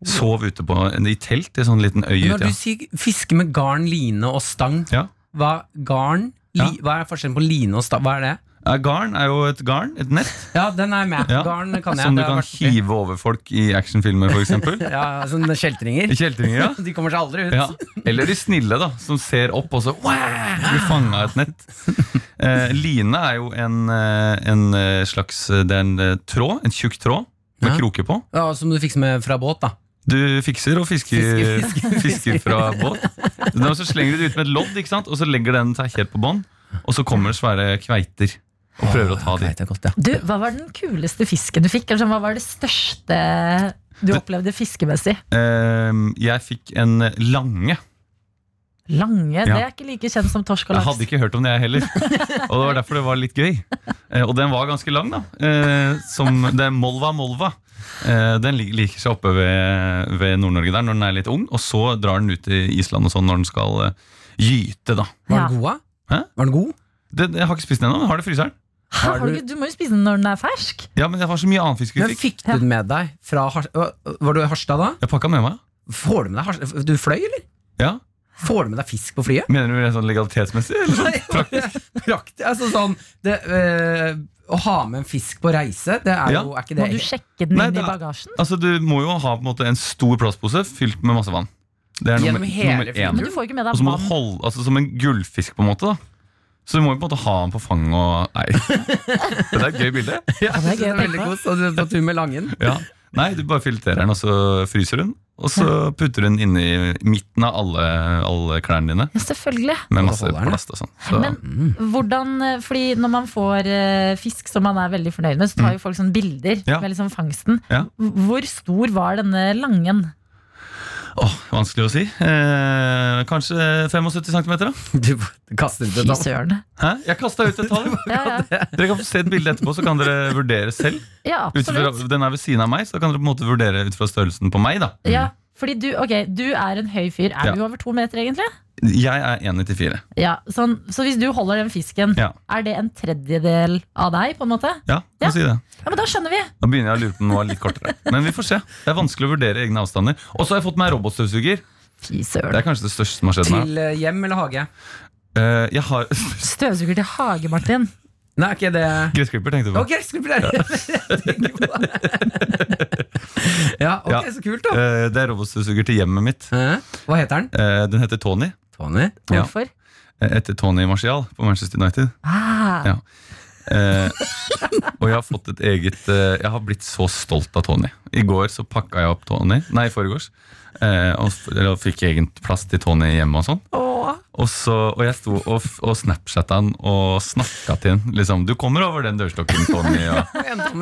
Sov ute på, i telt i en sånn liten øy Når ute. du ja. sier fiske med garn, line og stang, Ja. hva, garn, li, hva er forskjellen på line og stang? Hva er det? Eh, Garn er jo et garn, et nett, Ja, den er jeg med. Ja. Garn kan jeg. som du det har kan vært oppi. hive over folk i actionfilmer, f.eks. Ja, sånne kjeltringer. I kjeltringer, ja. De kommer seg aldri ut. Ja. Eller de snille, da, som ser opp og så «Wah!» blir fanga av et nett. Eh, line er jo en, eh, en eh, slags eh, Det er en eh, tråd, en tjukk tråd med Ja. kroker på. Ja, som du fikser med fra båt, da. Du fikser og fisker, Fisker, fisker, fra båt. Da så slenger du det ut med et lodd, ikke sant? og så legger den seg helt på bånn. Og så kommer det svære kveiter og prøver å ta Ja, de. det er godt, ja. Du, Hva var den kuleste fisken du fikk? Eller sånn, hva var det største du opplevde fiskemessig? Ehm, jeg fikk en lange. Lange? Det er ikke like kjent som torsk og Jeg hadde laks. ikke hørt om det, jeg heller. Og det var derfor det var litt gøy. Eh, og den var ganske lang, da. Eh, som det er Molva Molva. Eh, den lik- liker seg oppe ved, ved Nord-Norge der når den er litt ung, og så drar den ut til Island og sånn når den skal eh, gyte, da. Var Ja. den god, da? Hæ? Var den god? Den- jeg har ikke spist den ennå, men har det i fryseren. Hæ, Har har du du- ikke- Du må jo spise den når den er fersk. Ja, men jeg har så mye annen fisk vi Men fikk. fikk du den med deg fra Har- Hva- Var du i Harstad da? Jeg pakka med meg. Får du med deg Harstad? Du fløy, eller? Ja. Får du med deg fisk på flyet? Mener du det sånn legalitetsmessig? Eller? sånn? Praktisk. Altså sånn det, eh, Å ha med en fisk på reise, det er Ja. jo er ikke Må det du sjekke den Nei, inn i det er- bagasjen? Altså, du må jo ha på en, måte, en stor plastpose fylt med masse vann. Det er Gjennom nummer, hele nummer flyturen? én. Men du får jo ikke med Og deg så må du vann. holde, altså som en gullfisk, på en måte. da Så du må jo på en måte ha den på fanget og Nei. Det er et gøy bilde. Ja, det er gøy å tenke veldig på. kos, og du er på tur med Langen. Ja. Nei, du bare fileterer den, og så fryser hun. Og så putter du den inni midten av alle, alle klærne dine Ja, selvfølgelig. med Og masse holder den, ja. plast og sånn. Så, Men hvordan, eh, fordi når man får eh, fisk som man er veldig fornøyd med, så tar jo folk sånne bilder Mm. Ja. med liksom fangsten. Ja. Hvor stor var denne langen? åh, vanskelig å si. Eh, kanskje 75 cm, da? Du kaster ut et Fy tall. søren. Hæ? Jeg kasta ut et tall. Ja, ja. Dere kan få se et bilde etterpå, så kan dere vurdere selv. ja, Ut fra, absolutt. den er ved siden av meg, så da kan dere på en måte vurdere ut fra størrelsen på meg. da Ja, fordi du, ok, du er en høy fyr. Er Ja. du over to meter, egentlig? Jeg er 1,94. Ja, sånn, så hvis du holder den fisken, Ja. er det en tredjedel av deg, på en måte? Ja, Ja. kan si det. Ja, men da skjønner vi! Da begynner jeg å lure på om den var litt kortere. Men vi får se. Det er vanskelig å vurdere egne avstander. Og så har jeg fått meg robotstøvsuger. Fy Det søren. er kanskje det største som har skjedd meg. Til eh, hjem eller hage? Eh, jeg har Støvsuger til hage, Martin. Nei, er ikke det Gressklipper, tenkte du på. Ok, skulle jeg jeg tenker på det. Ja, ok, Ja. så kult, da. Eh, det er robotstøvsuger til hjemmet mitt. Hæ? Hva heter den? Eh, den heter Tony. Tony? Hvorfor? Ja. Etter Tony Martial på Manchester United. Ah. Ja. Eh, og jeg har fått et eget eh, Jeg har blitt så stolt av Tony. I går så pakka jeg opp Tony. Nei, i forgårs. Eh, og f- eller fikk egen plass til Tony hjemme og sånn. Og, så, og jeg sto og, f- og snapchatta han og snakka til han. Liksom, 'Du kommer over den dørstokken, Tony.' Og,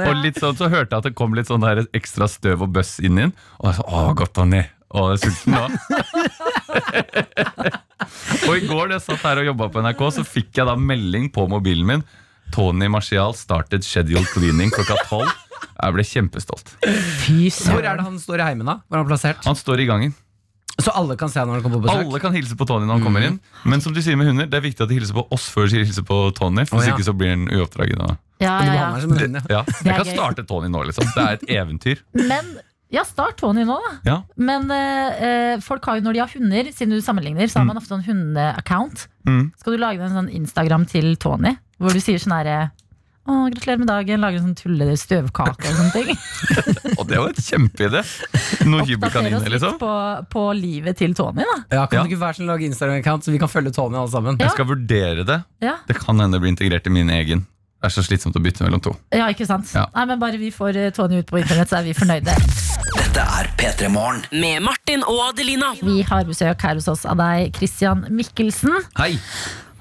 og litt sånn, så hørte jeg at det kom litt sånn der ekstra støv og bøss inn i den. Og jeg så, 'Å, godt, Tony'. Og jeg er sulten nå. Og i går da jeg satt her og jobbet på NRK, så fikk jeg da melding på mobilen min. Tony Martial started scheduled cleaning klokka tolv. Jeg ble kjempestolt. Hvor er det han står i heimen, da? Hvor er han plassert? Han står i gangen. Så alle kan se han når han kommer på besøk? Alle kan hilse på Tony når han kommer inn. Mm. Men som de sier med hunder, det er viktig at de hilser på oss før de hilser på Tony. For Å, hvis ja. ikke så blir han uoppdragen. Og... Ja, Du ja, behandler ja. som en hund, ja. Ja. Det er Jeg kan gøy. starte Tony nå, liksom. Det er et eventyr. Men ja, start Tony nå, da. Ja. Men eh, eh, folk har jo når de har hunder, siden du sammenligner, så har man ofte en hundeaccount. Mm. Skal du lage deg en sånn Instagram til Tony, hvor du sier sånn herre å, gratulerer med dagen. Lager en sånn tulle støvkake og sånne ting. Og det var et kjempeidé! Noen Oppdatere oss hybelkaniner, litt liksom. på, på livet til Tony, da. Ja, kan Ja. du ikke være sånn lage Instagram-account, så vi kan følge Tony alle sammen? Jeg skal vurdere det. Ja, Det kan hende det blir integrert i min egen. Det er så slitsomt å bytte mellom to. ja ikke sant? Ja. Nei, men bare vi får eh, Tony ut på internett, så er vi fornøyde. Dette er P3 Morgen. Med Martin og Adelina. Vi har besøk her hos oss av deg, Christian Mikkelsen. Hei!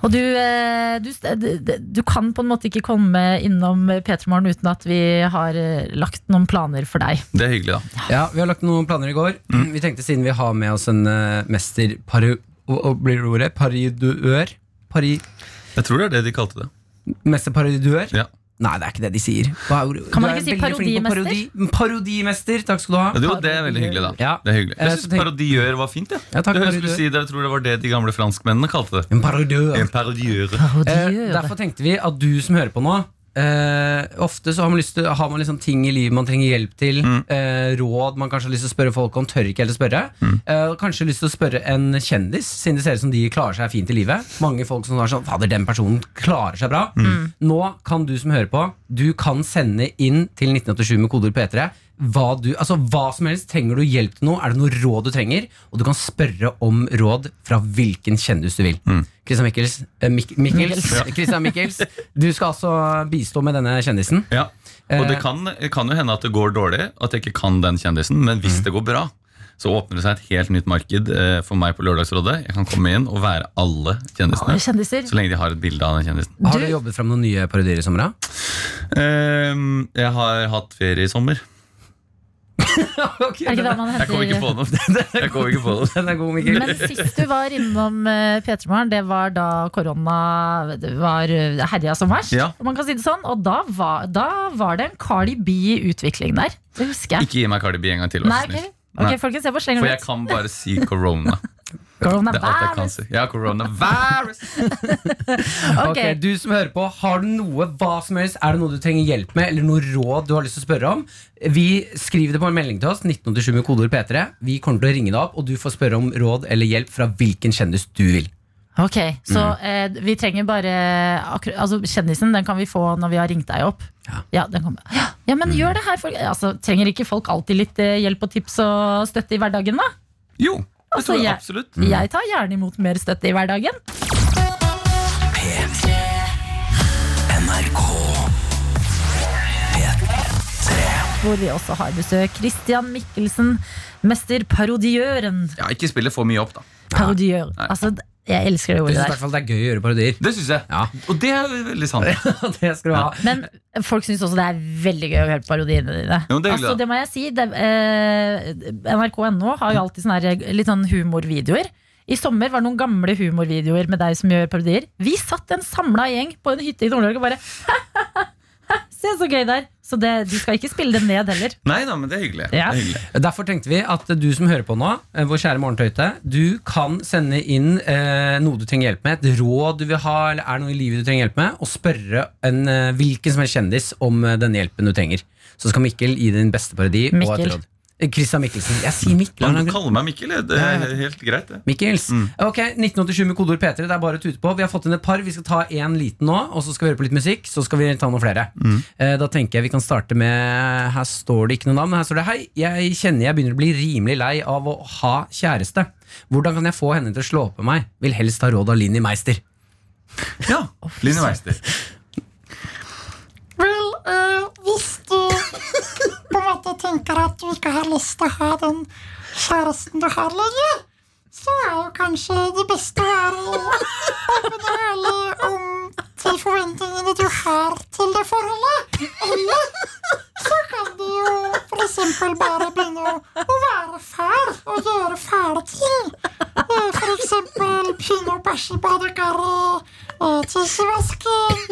Og du, eh, du, du, du kan på en måte ikke komme innom P3 Morgen uten at vi har eh, lagt noen planer for deg. Det er hyggelig, da. Ja, Vi har lagt noen planer i går. Vi tenkte Siden vi har med oss en eh, mester pari, og, og blir det ordet? Pariduør? Pari, Jeg tror det er det de kalte det. mester pariduør? Ja. Nei, det er ikke det de sier. Hva er ordet? Kan man Du er ikke si veldig flink på Parodi, parodimester, takk skal du Ja, ha. det, jo, det er veldig hyggelig, da. Ja. Det er hyggelig. Eh, Jeg så syns tenk- parodiør var fint. Ja. Ja, takk, det, jeg, skulle parodiør. si det, jeg tror det var det de gamle franskmennene kalte det. En parodør. En parodiør. Eh, derfor tenkte vi at du som hører på nå eh, ofte så har man, lyst til, har man liksom ting i livet man trenger hjelp til. Eh, råd man kanskje har lyst til å spørre folk om, tør ikke helt å spørre. Eh, og kanskje lyst til å spørre en kjendis, siden det ser ut som de klarer seg fint i livet. Mange folk som er sånn Fader, den personen klarer seg bra. Nå kan du som hører på, du kan sende inn til 1987 med koder P3. Hva, du, altså, hva som helst. Trenger du hjelp til noe? Er det noe råd du trenger? Og du kan spørre om råd fra hvilken kjendis du vil. Christian Mikkels, eh, Mik Mikkels, Christian Mikkels, du skal altså bistå med denne kjendisen. Ja. Og Eh. det kan, det kan jo hende at det går dårlig, at jeg ikke kan den kjendisen, men hvis det går bra, så åpner det seg et helt nytt marked eh, for meg på Lørdagsrådet. Jeg kan komme inn og være alle kjendisene. Kjendiser. Så lenge de har et bilde av den kjendisen. Har du jobbet fram noen nye parodier i sommer? da? Ehm, jeg har hatt ferie i sommer. Er det ikke da man Jeg kom ikke henter på noe. Jeg kom ikke på noe. Den er god, Mikkel. men sist du var innom eh, P3 Morgen, det var da korona det var eh, herja som verst. Ja. Om man kan si det sånn. Og da var, da var det en Cardi B i utvikling der. Det husker jeg. Ikke gi meg Cardi B en gang til. Nei, vær så ok, snill. Ok, Nei. folkens, jeg bare slenger For den jeg ut. kan bare si corona. Det er alt jeg kan Coronavirus. si. Ja, coronavirus! Ok, Du som hører på, har du noe hva som helst? Er det noe du trenger hjelp med, eller noe råd du har lyst til å spørre om? Vi skriver det på en melding til oss, 1987 med kodeord P3. Vi kommer til å ringe deg opp, og du får spørre om råd eller hjelp fra hvilken kjendis du vil. Ok, Så Mm. eh, vi trenger bare akkur- altså, Kjendisen den kan vi få når vi har ringt deg opp. Ja, den kommer. ja, ja Mm. men gjør det her. folk. altså, trenger ikke folk alltid litt eh, hjelp og tips og støtte i hverdagen, da? Jo, det Altså, tror jeg jeg- absolutt. Mm. Jeg tar gjerne imot mer støtte i hverdagen. P3. NRK. Hvor vi også har besøk Christian Mikkelsen, mester parodiøren. Ja, ikke spille for mye opp, da. Parodiør. Altså, d- jeg elsker det Jeg ordet synes i der. hvert fall det er gøy å gjøre parodier. Det syns jeg. Ja. Og det er veldig sant. Det skal du ha. Men folk syns også det er veldig gøy å høre parodiene dine. Jo, men det er hyggelig, altså, da. det må jeg si det, eh, NRK.no har jo alltid sånne her, litt sånn humorvideoer. I sommer var det noen gamle humorvideoer med deg som gjør parodier. Vi satt en samla gjeng på en hytte i Nord-Norge og bare Se så gøy det er! Så det, du skal ikke spille dem ned heller. Nei da, men det er hyggelig. Ja. Det er hyggelig. Derfor tenkte vi at du som hører på nå, eh, vår kjære morgentøyte, du kan sende inn eh, noe du trenger hjelp med, et råd du vil ha, eller er det noe i livet du trenger hjelp med, og spørre en, eh, hvilken som helst kjendis om eh, den hjelpen du trenger. Så skal Mikkel gi din beste parodi og Mikkel. et råd. Christian Mikkelsen. Jeg sier Mikkel. Man kan kalle meg Mikkel. jeg. Det er helt greit, det. Mikkels. Mm. Ok, 1987 med kodeord P3. Det er bare å tute på. Vi har fått inn et par. Vi skal ta en liten nå, og så skal vi høre på litt musikk. Så skal vi ta noen flere. Eh, Da tenker jeg vi kan starte med Her står det ikke noe navn. men Her står det Hei, jeg kjenner jeg begynner å bli rimelig lei av å ha kjæreste. Hvordan kan jeg få henne til å slå på meg? Vil helst ha råd av Linni Meister. Ja, Line Meister. Vel, eh, hvis du på en måte tenker at du ikke har lyst til å ha den kjæresten du har lenger, så er jo kanskje det beste å være åpen og ærlig om de forventningene du har til det forholdet. Eller så kan du jo for eksempel bare begynne å, å være fæl og gjøre fæle ting. Eh, For eksempel begynne å bæsje i badekaret, eh, tisse i vasken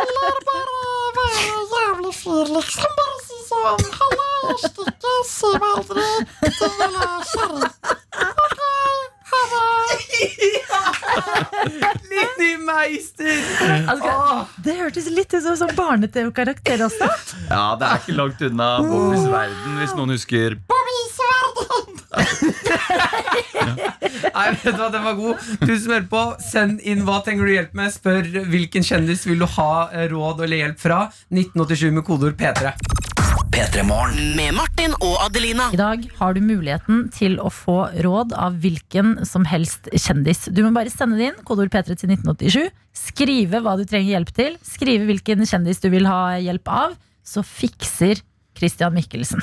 Eller bare være jævlig fyr, liksom. Bare si sånn Halla, jeg stikker. Si meg aldri til jeg er kjerring. OK, ha det. Linni Meister! Altså, det hørtes litt ut som en sånn barne-TV-karakter også. Ja, det er ikke langt unna Bobbys verden, hvis noen husker. Nei, vet du hva, Den var god. Du som hører på, send inn hva trenger du hjelp med. Spør hvilken kjendis vil du ha eh, råd eller hjelp fra. 1987 med kodeord P3. Med Martin og Adelina. I dag har du muligheten til å få råd av hvilken som helst kjendis. Du må bare sende det inn, kodeord P3 til 1987. Skrive hva du trenger hjelp til. Skrive hvilken kjendis du vil ha hjelp av. Så fikser Christian Mikkelsen.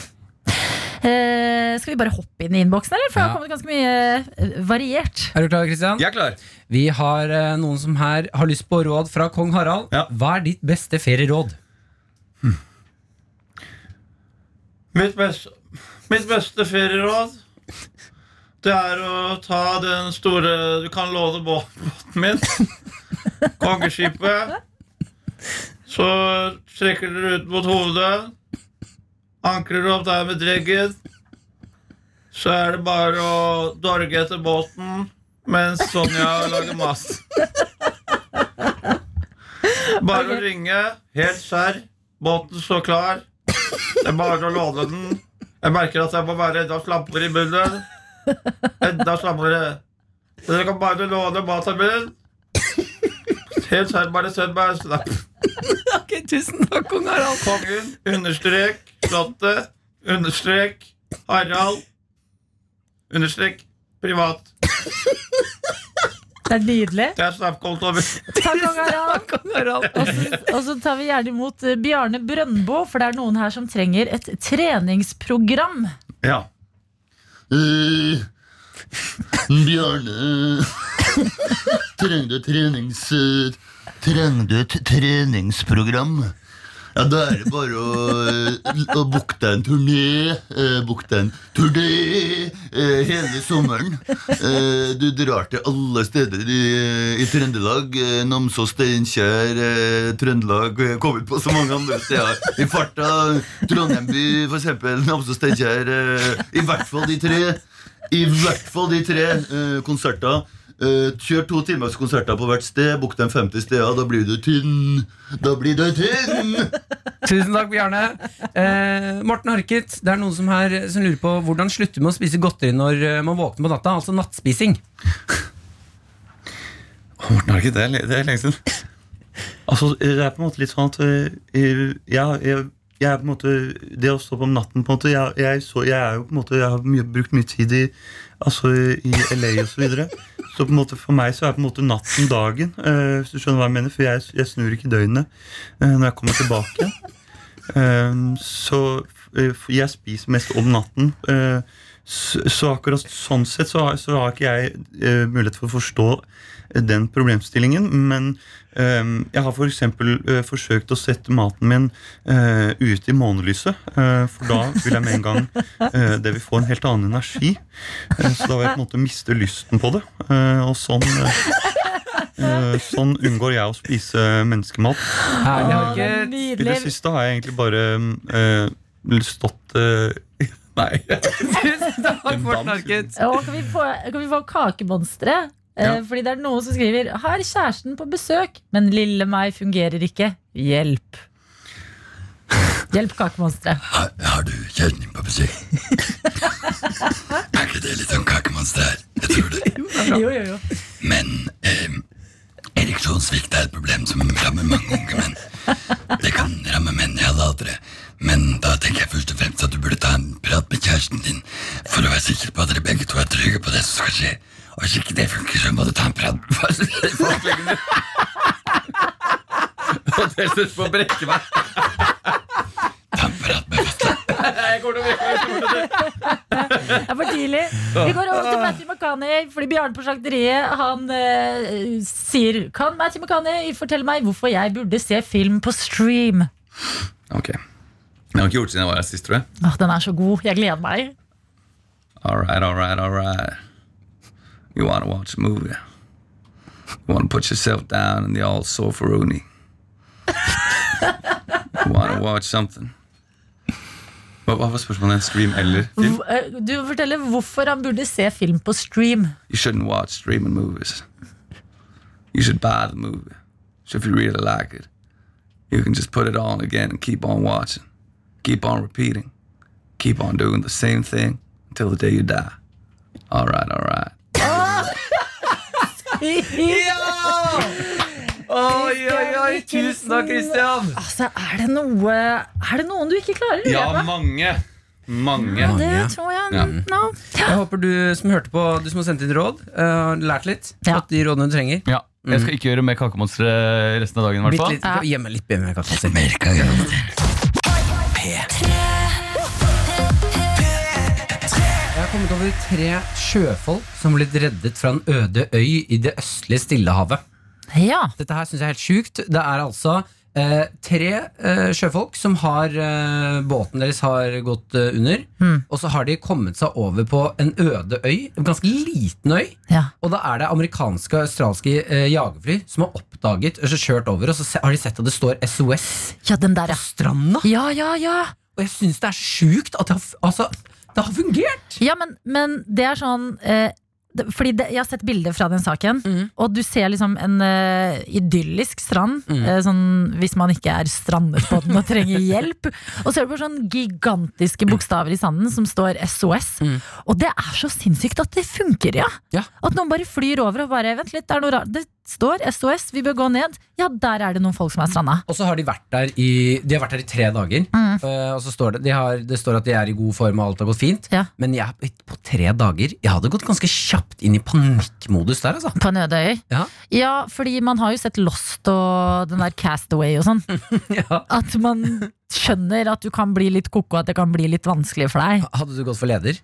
Eh, skal vi bare hoppe inn i innboksen, eller? For det har Ja. kommet ganske mye eh, variert. Er du klar, Kristian? Jeg er klar. Vi har eh, noen som her har lyst på råd fra kong Harald. Hva er ditt beste ferieråd? Mitt beste, mitt beste ferieråd Det er å ta den store Du kan låne bå- båten min. Kongeskipet. Så trekker dere ut mot hovedet. Ankrer dere opp der med dreggen. Så er det bare å dorge etter båten mens Sonja lager mat. Bare å ringe. Helt serr. Båten står klar. Det er bare å låne den. Jeg merker at jeg må være enda slappere i munnen. Enda slappere. Så dere kan bare låne maten min. Helt serr, bare send meg en snap. Ok, Tusen takk, kong Harald. Kongen, understrek, slottet, understrek, Harald, understrek, privat. Det er nydelig. Det er snapkontoen min. Takk, kong Harald. Og så- Og så tar vi gjerne imot eh, Bjarne Brøndbo, for det er noen her som trenger et treningsprogram. Ja. Eh, Bjarne Trenger du et trenings... eh, Trenger du et treningsprogram? Ja, da er det bare å, eh, å booke deg en turné. eh, Booke deg en turné eh, hele sommeren. Eh, Du drar til alle steder i, i Trøndelag. eh, Namsos, Steinkjer, eh, Trøndelag eh, Kommet på så mange andre steder i farta. Trondheim by, for eksempel. Namsos, Steinkjer. eh, I hvert fall de tre. I hvert fall de tre eh, konserter. Eh, kjør to timers konserter på hvert sted. Bukk dem 50 steder. Da blir du tynn. Da blir du tynn! Tusen takk, Bjarne. Eh, Morten Harket, det er noen som her eh, som lurer på hvordan slutter man å spise godteri når eh, man våkner på natta? Altså nattspising. Morten Harket, det er, le- det er lenge siden. Altså, det er på en måte litt sånn at øh, jeg, jeg, jeg er på en måte Det å stå opp om natten på en måte Jeg, jeg, så, jeg er jo på en måte Jeg har mye, brukt mye tid i, altså, i LA og så videre Så på en måte for meg så er på en måte natten dagen øh, Hvis du skjønner hva jeg mener For jeg, jeg snur ikke døgnet øh, når jeg kommer tilbake Ehm, Så øh, for jeg spiser mest om natten øh, så, så akkurat sånn sett så har, så har ikke jeg øh, mulighet for å forstå den problemstillingen, men øhm, jeg har for eksempel øh, forsøkt å sette maten min øh, ut i månelyset, øh, for da vil jeg med en gang øh, det vil få en helt annen energi. Eh, så da vil jeg på en måte miste lysten på det. eh, og sånn, eh, eh, sånn unngår jeg å spise menneskemat. Herlig, Å, Ah, det er Harket. nydelig. I det siste har jeg egentlig bare eh, stått eh, Nei. Tusen takk, Morten Harket. Og kan vi få, kan vi få kakemonstre? Eh, Fordi det er noen som skriver Har kjæresten på besøk, men lille meg fungerer ikke. Hjelp. Hjelp kakemonstre. Har, har du kjerring, pappa sier. Er ikke det litt sånn kakemonster her? Jeg tror det. Jo, jo, jo. Men eh, ereksjonssvikt er et problem som rammer mange unge menn. Det kan ramme menn i alle aldre. Men da tenker jeg først og fremst at du burde ta en prat med kjæresten din for å være sikker på at dere begge to er trygge på det som skal skje. Og hvis ikke det funker, så må du ta en prat med fastlegen din. Og det slutter på å brekke meg. Jeg kommer til å brekke meg. Det er for tidlig. Vi går over til Matthew McCanny, fordi Bjarne på Slakteriet Han eh, sier Kan Matthew McCanny fortelle meg hvorfor jeg burde se film på stream? Ok Jeg har ikke gjort det siden jeg var her sist, tror jeg. Åh, den er så god. Jeg gleder meg. All right, all right, all right. You want to watch a movie. You want to put yourself down in the old sofa-rooney. you want to watch something. Hva, hva var spørsmålet? Stream eller film? Hv- eh, Du forteller hvorfor han burde se film på stream. You shouldn't watch streaming movies. You should buy the movie. So if you really like it, you can just put it on again and keep on watching. Keep on repeating. Keep on doing the same thing until the day you die. All right, all right. ja! Oi, oi, oi. Tusen takk, Christian. Altså, er det, noe, er det noen du ikke klarer? lurer jeg Ja, på? mange. Mange. det tror jeg. Ja. No. Jeg håper du som hørte på, du som har sendt inn råd, eh, har lært litt. Fått de rådene du trenger. Ja. Jeg skal ikke gjøre mer kakemonstre resten av dagen. i hvert Bitt fall. litt, Gjemme litt bedre enn kakao. Jeg har kommet over tre sjøfolk som har blitt reddet fra en øde øy i det østlige Stillehavet. Dette her syns jeg er helt sjukt. Det er altså eh, tre eh, sjøfolk som har eh, Båten deres har gått eh, under. Og så har de kommet seg over på en øde øy, en ganske liten øy. Og da er det amerikanske og australske eh, jagerfly som har oppdaget og så kjørt over, og så se- har de sett at det står SOS ja, den der, på stranda. Ja, ja, ja. Og jeg syns det er sjukt at det har, f- altså, det har fungert! Ja, men, men det er sånn eh, det, Fordi det, jeg har sett bilder fra den saken, og du ser liksom en eh, idyllisk strand, Mm. eh, sånn, hvis man ikke er strandet på den og trenger hjelp. Og så er det bare sånn gigantiske bokstaver i sanden som står SOS. Og det er så sinnssykt at det funker, ja. At noen bare flyr over og bare Vent litt, det er noe rart. Det står SOS, vi bør gå ned. Ja, der er det noen folk som er stranda. Og så har de vært der i, de har vært der i tre dager. Mm. Eh, og så står det, de har, det står at de er i god form og alt har gått fint. Men jeg, på tre dager Jeg hadde gått ganske kjapt inn i panikkmodus der, altså. På en øde øy? Ja. Ja, fordi man har jo sett Lost og den der Castaway og sånn. At man skjønner at du kan bli litt koko, at det kan bli litt vanskelig for deg. Hadde du gått for leder?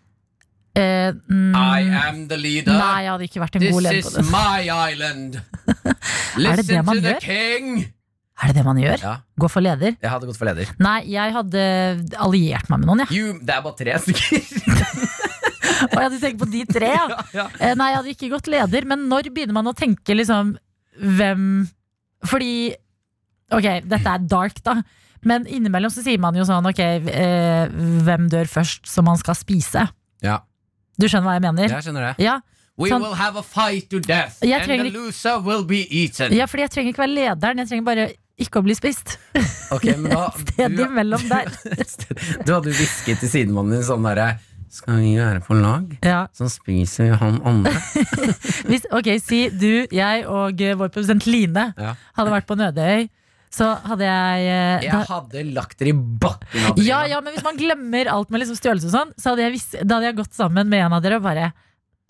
Eh, mm, am the leader. Nei, jeg hadde ikke vært en god leder på det. island. Er det det man gjør? king. Er det det man gjør? Ja. Gå for leder? Jeg hadde gått for leder. Nei, jeg hadde alliert meg med noen, jeg. You, det er bare tre stykker. Og jeg hadde tenkt på de tre, ja. Eh, Nei, jeg hadde ikke gått leder, men når begynner man å tenke liksom hvem Fordi Ok, dette er dark, da. Men innimellom så sier man jo sånn ok, eh, hvem dør først som man skal spise? Ja. Du skjønner hva jeg mener? Jeg skjønner det. Ja, sånn- have a fight to death, Jeg trenger ikke- loser will be eaten. ja fordi jeg trenger ikke være lederen, jeg trenger bare ikke å bli spist. Ok, men da, Stedet imellom der. Du hadde jo hvisket til sidemannen din sånn derre Skal vi være på lag, Ja. så spiser vi han andre. Hvis, ok, si du, jeg og eh, vår produsent Line Ja. hadde vært på Nødøy, så hadde jeg eh, da- Jeg hadde lagt dere i bakken. Adelina. Ja, ja, men hvis man glemmer alt med liksom stjåelse og sånn, så hadde jeg, visst, da hadde jeg gått sammen med en av dere og bare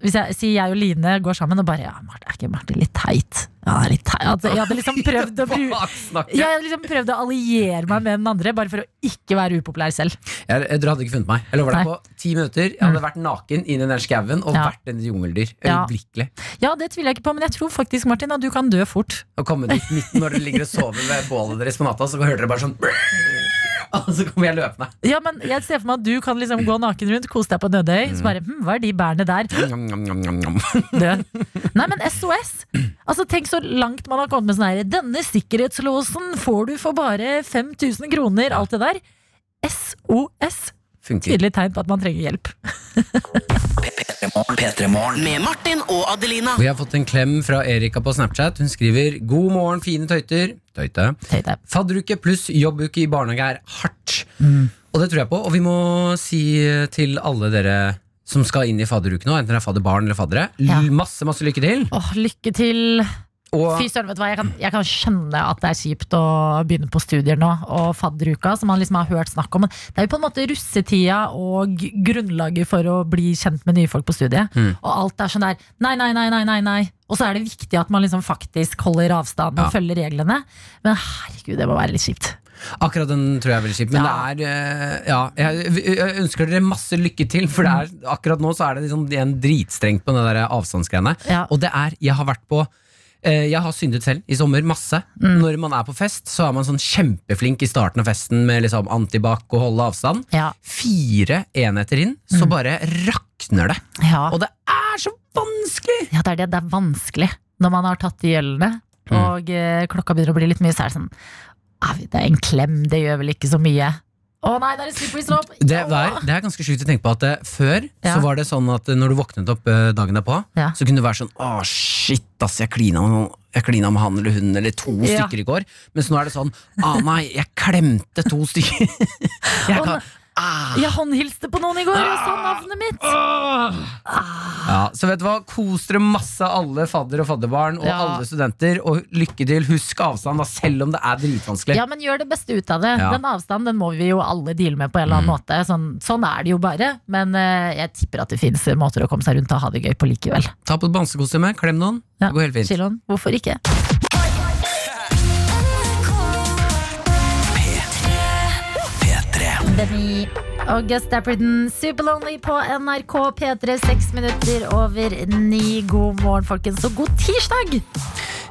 hvis jeg sier jeg og Line går sammen og bare Ja, Marte, er ikke Marte litt teit? Ja, han er litt teit. Altså, jeg hadde liksom prøvd å bruke Baksnakke. Jeg hadde liksom prøvd å alliere meg med den andre, bare for å ikke være upopulær selv. Jeg, jeg, dere hadde ikke funnet meg. Jeg lover deg Nei. Mm. på ti minutter. Jeg hadde vært naken inn i den der skauen og Ja. vært en jungeldyr. Ja. Øyeblikkelig. Ja, det tviler jeg ikke på, men jeg tror faktisk, Martin, at du kan dø fort. Og komme dit midt når dere ligger og sover ved bålet deres på natta, så hører dere bare sånn Og så kommer jeg løpende. Ja, men jeg ser for meg at du kan liksom gå naken rundt, kose deg på Nødøy, så bare hm, hva er de bærene der? Njam, njam, njam, njam, njam. Død. Nei, men SOS! Altså, tenk så langt man har kommet med sånn her Denne sikkerhetslåsen får du for bare 5000 kroner, alt det der. SOS. Funker. Tydelig tegn på at man trenger hjelp. Med Martin og Adelina. Og jeg har fått en klem fra Erika på Snapchat. Hun skriver 'God morgen, fine tøyter'. Tøyte. Fadderuke pluss jobbuke i barnehage er hardt. Og det tror jeg på. Og vi må si til alle dere som skal inn i fadderuke nå, enten det er fadderbarn eller faddere, l- masse, masse lykke til. Åh, lykke til. Og- Fy søren, vet du hva, jeg kan, jeg kan skjønne at det er kjipt å begynne på studier nå, og fadderuka, som man liksom har hørt snakk om. Men det er jo på en måte russetida og grunnlaget for å bli kjent med nye folk på studiet. Mm. Og alt er sånn der nei, nei, nei, nei, nei, nei. Og så er det viktig at man liksom faktisk holder avstand og Ja. følger reglene. Men herregud, det må være litt kjipt. Akkurat den tror jeg er veldig kjipt. Men det er eh, Ja, jeg, jeg ønsker dere masse lykke til, for det er, akkurat nå så er det liksom igjen dritstrengt på den der eh, avstandsgreiene. Og det er Jeg har vært på eh, jeg har syndet selv i sommer, masse. Når man er på fest, så er man sånn kjempeflink i starten av festen med liksom antibac og holde avstand. Fire enheter inn, så bare rakner det. Og det er så vanskelig! Ja, det er det. Det er vanskelig når man har tatt de ølene, Mm. og eh, klokka begynner å bli litt mye, så er det sånn «Ah, Det er en klem, det gjør vel ikke så mye. Å nei, det er en slippery slope! Det, der, det er ganske sjukt å tenke på at eh, før Ja. så var det sånn at eh, når du våknet opp eh, dagen derpå, Ja. så kunne du være sånn Å, shit, ass, jeg klina, med noen- jeg klina med han eller hun eller to Ja. stykker i går. Mens nå er det sånn Å nei, jeg klemte to stykker. jeg Å, kan, nei. Jeg håndhilste på noen i går og sa navnet mitt! Ah. ja, så vet du hva, kos dere masse alle fadder og fadderbarn og Ja. alle studenter, og lykke til. Husk avstand, da, selv om det er dritvanskelig. Ja, men gjør det beste ut av det. Ja. Mm. Den avstanden den må vi jo alle deale med på en eller annen måte. Sånn, sånn er det jo bare. Men eh, jeg tipper at det fins måter å komme seg rundt og ha det gøy på likevel. Ta på et bamsekostyme, klem noen. Det går helt fint. Chill on. Hvorfor ikke? Benny og Gus Dapperton, Superlonely på NRK P3, seks minutter over ni. God morgen, folkens, og god tirsdag!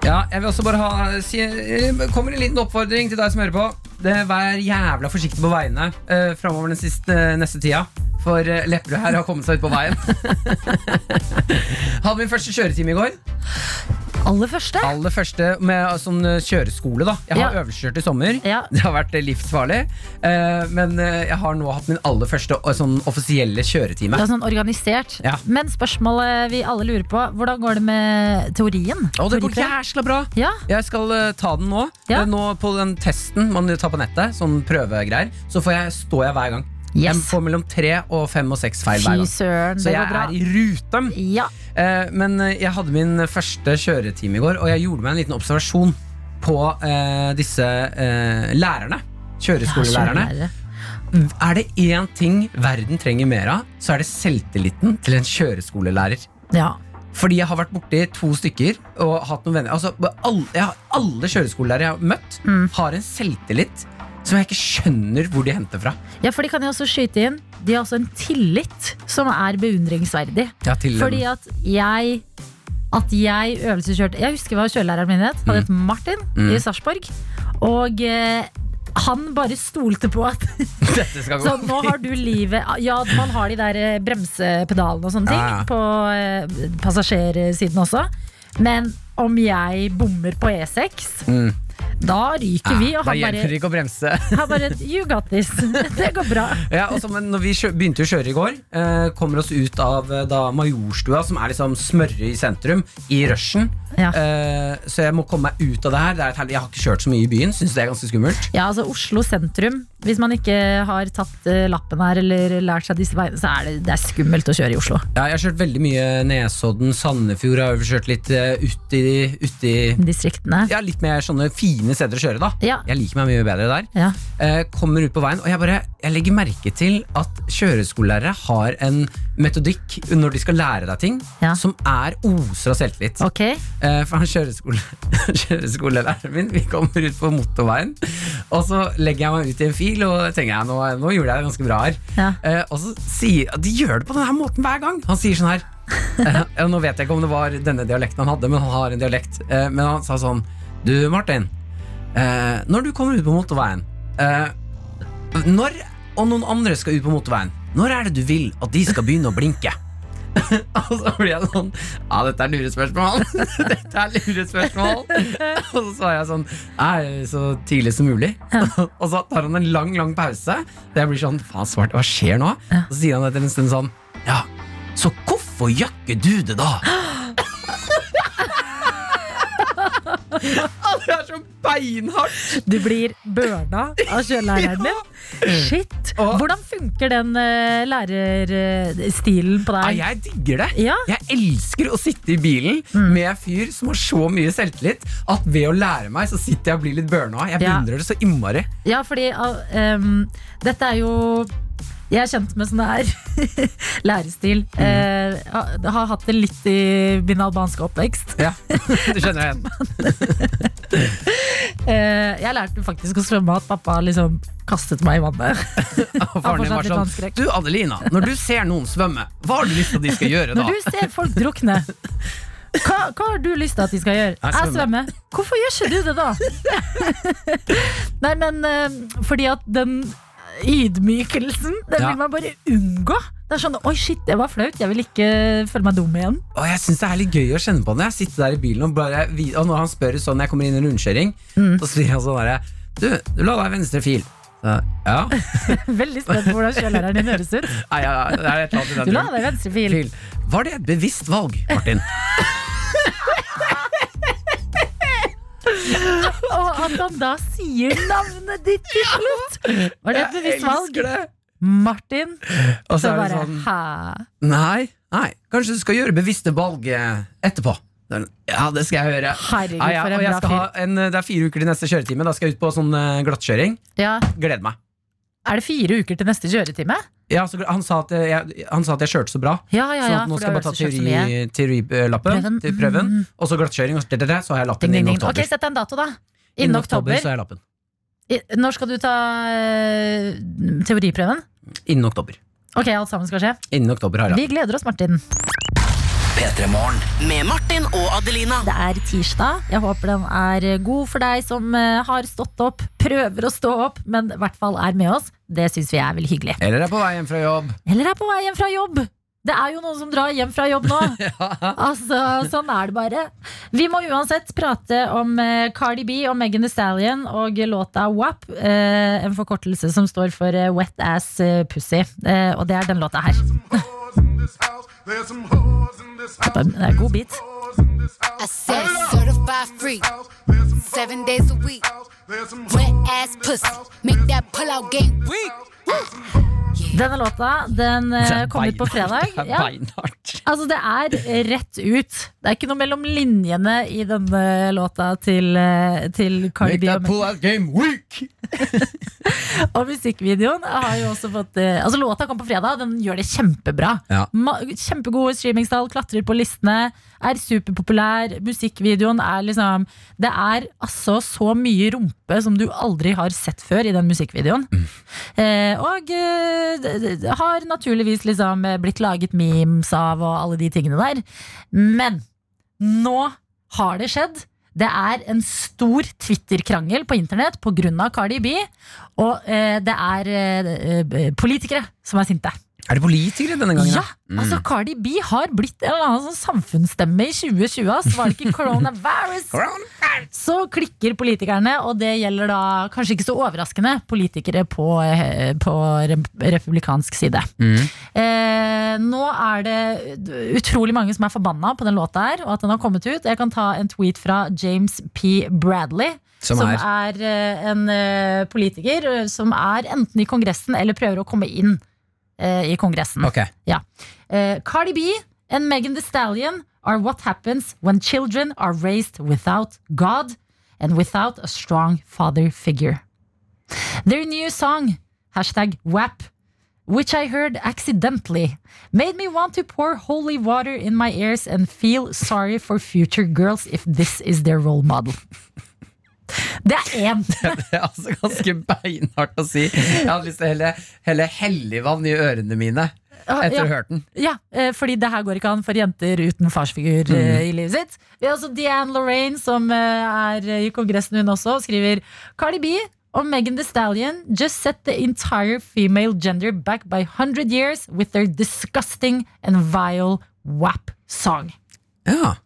Ja, jeg vil også bare ha si, eh, Kommer en liten oppfordring til deg som hører på. Det, vær jævla forsiktig på veiene uh, framover den siste, neste tida. For eh, Lepperød her har kommet seg ut på veien. Hadde min første kjøretime i går. Aller første? Aller første Med eh, sånn eh, kjøreskole, da. Jeg har Ja. øvelseskjørt i sommer. Ja. Det har vært eh, livsfarlig. Eh, men eh, jeg har nå hatt min aller første eh, sånn offisielle kjøretime. Det er sånn organisert. Ja. Men spørsmålet vi alle lurer på, hvordan går det med teorien? Å, det går Teoriprøven? jæsla bra! Jeg skal eh, ta den nå. Eh, nå På den testen man tar på nettet, sånn prøvegreier, så får jeg, står jeg hver gang. Jeg får mellom tre og fem og seks feil Fy hver gang. søren, det så jeg går bra. er i rute. Eh, men eh, jeg hadde min første kjøretime i går, og jeg gjorde meg en liten observasjon på eh, disse eh, lærerne. Kjøreskolelærerne. Ja, kjørelærere. Er det én ting verden trenger mer av, så er det selvtilliten til en kjøreskolelærer. Ja. Fordi jeg har vært borti to stykker og hatt noen venner. Altså, alle, jeg har, alle kjøreskolelærere jeg har møtt, Mm. har en selvtillit som jeg ikke skjønner hvor de henter fra. Ja, for de kan jo også skyte inn De har også en tillit som er beundringsverdig Ja, til dem. Fordi at jeg At jeg øvelseskjørte Jeg husker hva kjørelæreren min het Han het Martin Mm. i Sarsborg Og eh, han bare stolte på at Dette skal Så gå nå har du livet Ja, man har de der eh, bremsepedalene og sånne ting Ja, ja. På eh, passasjersiden også Men om jeg bommer på E6 Mm. Ah, Da ryker vi og Da han hjelper bare, det ikke å bremse. han bare You got this Det går bra Ja, og så, men når vi kjø begynte å kjøre i går, eh, kommer oss ut av eh, da Majorstua, som er liksom smørre i sentrum, i rushen. Eh, så jeg må komme meg ut av det her. Det er et helvete. jeg har ikke kjørt så mye i byen, syns det er ganske skummelt. Ja, altså Oslo sentrum. Hvis man ikke har tatt eh, lappen her eller lært seg disse veiene, så er det, det er skummelt å kjøre i Oslo. Ja, jeg har kjørt veldig mye Nesodden, Sandefjord, har jo kjørt litt eh, ut i, ut i Distriktene. Ja, litt mer sånne fine steder å kjøre, da. Jeg liker meg mye bedre der. Ja. Eh, kommer ut på veien, og jeg bare jeg legger merke til at kjøreskolelærere har en metodikk når de skal lære deg ting, som er oser av selvtillit. Eh, for han kjøreskole, kjøreskolelæreren min, vi kommer ut på motorveien, og så legger jeg meg ut i en fil og tenker jeg, nå, nå gjorde jeg det ganske bra her. Eh, og så sier De gjør det på denne måten hver gang! Han sier sånn her eh, ja, Nå vet jeg ikke om det var denne dialekten han hadde, men han har en dialekt. Eh, men han sa sånn Du, Martin. Eh, når du kommer ut på motorveien eh, Når og noen andre skal ut på motorveien Når er det du vil at de skal begynne å blinke? og så blir jeg sånn Ja, dette er lurespørsmål Dette er lurespørsmål Og så svarer jeg sånn Nei, så tidlig som mulig Og så tar han en lang, lang pause Det blir sånn, faen svart, hva skjer nå? Og så sier han etter en stund sånn Ja, så hvorfor gjør ikke du det da? Du blir burna av kjørelæreren din. Shit. Hvordan funker den eh, lærerstilen på Nei, deg? jeg digger det. Ja. Mm. Jeg elsker å sitte i bilen med en fyr som har så mye selvtillit at ved å lære meg, så sitter jeg og blir litt burna. Jeg Ja. beundrer det så innmari. Ja, fordi ah, ehm, dette er jo jeg er kjent med sånn det er. Lærestil. Mm. Eh, ha- har hatt det litt i min albanske oppvekst. Ja, det skjønner jeg igjen. Eh, jeg lærte faktisk å svømme at pappa liksom kastet meg i vannet. Og faren din fortsatt var litt sånn vannskrekk. Du Adelina, når du ser noen svømme, hva har du lyst til at de skal gjøre da? Når du ser folk drukne, hva, hva har du lyst til at de skal gjøre? Jeg Jeg svømmer. svømmer. Hvorfor gjør ikke du det da? Nei, men eh, fordi at den ydmykelsen, den Ja. vil man bare unngå. Det er sånn oi, shit, det var flaut. Jeg vil ikke føle meg dum igjen. Og jeg synes det er litt gøy å kjenne på det. Jeg sitter der i bilen, og, bare, vi- og når han spør sånn når jeg kommer inn i en rundkjøring, Mm. så sier han sånn derre Du, du la deg venstre fil. Så, ja. Veldig spent på hvordan kjølelæreren din høres ut. Nei, ja, ja, det er et eller annet i den Du la duren. deg venstre fil. Fil. Var det et bevisst valg, Martin? Og at han da sier navnet ditt til slutt! Var det et Jeg bevisst valg? elsker det. Martin. Og så så er det bare sånn- hæ? Nei, nei, kanskje du skal gjøre bevisste valg eh, etterpå. Da er det- Ja, det skal jeg gjøre. Herregud, Ja, ja, for en og jeg bra skal ha en, eh, det er fire uker til neste kjøretime. Da skal jeg ut på sånn eh, glattkjøring. Ja. Gleder meg. Er det fire uker til neste kjøretime? Ja, så, han, sa at eh, jeg, han sa at jeg kjørte så bra. Ja, ja, sånn ja, at nå for skal jeg du bare ta har jo også kjørt så teori- teorilappen, Prøven. Mm. til prøven, og så glattkjøring, og så, så har jeg lappen Ding, ding, innen ding. oktober. Ok, Sett deg en dato, da. Innen Innen oktober. så har jeg lappen. I- Når skal du ta eh, teoriprøven? Innen oktober. Ok, alt sammen skal skje. Innen oktober har jeg Vi gleder oss, Martin. Med Martin og Adelina. Det er tirsdag. Jeg håper den er god for deg som eh, har stått opp, prøver å stå opp, men i hvert fall er med oss. Det syns vi er veldig hyggelig. lappen. Eller er på vei hjem fra jobb. Eller er på vei hjem fra jobb. Det er jo noen som drar hjem fra jobb nå. Altså, Sånn er det bare. Vi må uansett prate om eh, Cardi B og Megan Thee Stallion og låta WAP. Eh, en forkortelse som står for eh, Wet Ass eh, Pussy. Eh, og det er den låta her. Det er god beat. I said certified free, seven days a week. Wet ass pussy, make that pull out game weak. Denne låta den eh, Det er kom ut på fredag. Det er Ja. Altså, det er rett ut. Det er ikke noe mellom linjene i denne låta til, eh, til Cardi Make B. that og- pull out game weak! Og musikkvideoen har jo også fått eh, Altså Låta kom på fredag, og den gjør det kjempebra. Ja. Ma kjempegode streamingstall, klatrer på listene, er superpopulær. Musikkvideoen er liksom Det er altså så mye rumpe som du aldri har sett før i den musikkvideoen. Eh, og eh, d- d- har naturligvis liksom eh, blitt laget memes av og alle de tingene der. Men nå har det skjedd. Det er en stor Twitter-krangel på internett pga. Cardi B. Og eh, det er eh, eh, politikere som er sinte. Er det politikere denne gangen? Ja, altså Cardi B har blitt en eller annen sånn samfunnsstemme i 2020. ass. Var det ikke coronavirus? Så klikker politikerne, og det gjelder da kanskje ikke så overraskende politikere på, eh, på re- republikansk side. Eh, nå er det utrolig mange som er forbanna på den låta her, og at den har kommet ut. Jeg kan ta en tweet fra James P. Bradley. Som Som er? er eh, en eh, politiker eh, som er enten i Kongressen eller prøver å komme inn eh, i Kongressen. Ok. Ja. Eh, Cardi B and Megan Thee Stallion are what happens when children are raised without God and without a strong father figure. Their new song, hashtag WAP, which I heard accidentally, made me want to pour holy water in my ears and feel sorry for future girls if this is their role model. Det er én. Det er altså ganske beinhardt å si. Jeg hadde lyst til å helle, helle helligvann i ørene mine etter å Ah, ja. ha hørt den. Ja, eh, fordi det her går ikke an for jenter uten farsfigur Mm. eh, i livet sitt. Vi har også Dianne Lorraine, som eh, er i Kongressen hun også, skriver Cardi B og Megan Thee Stallion just set the entire female gender back by 100 years with their disgusting and vile WAP song. Ja.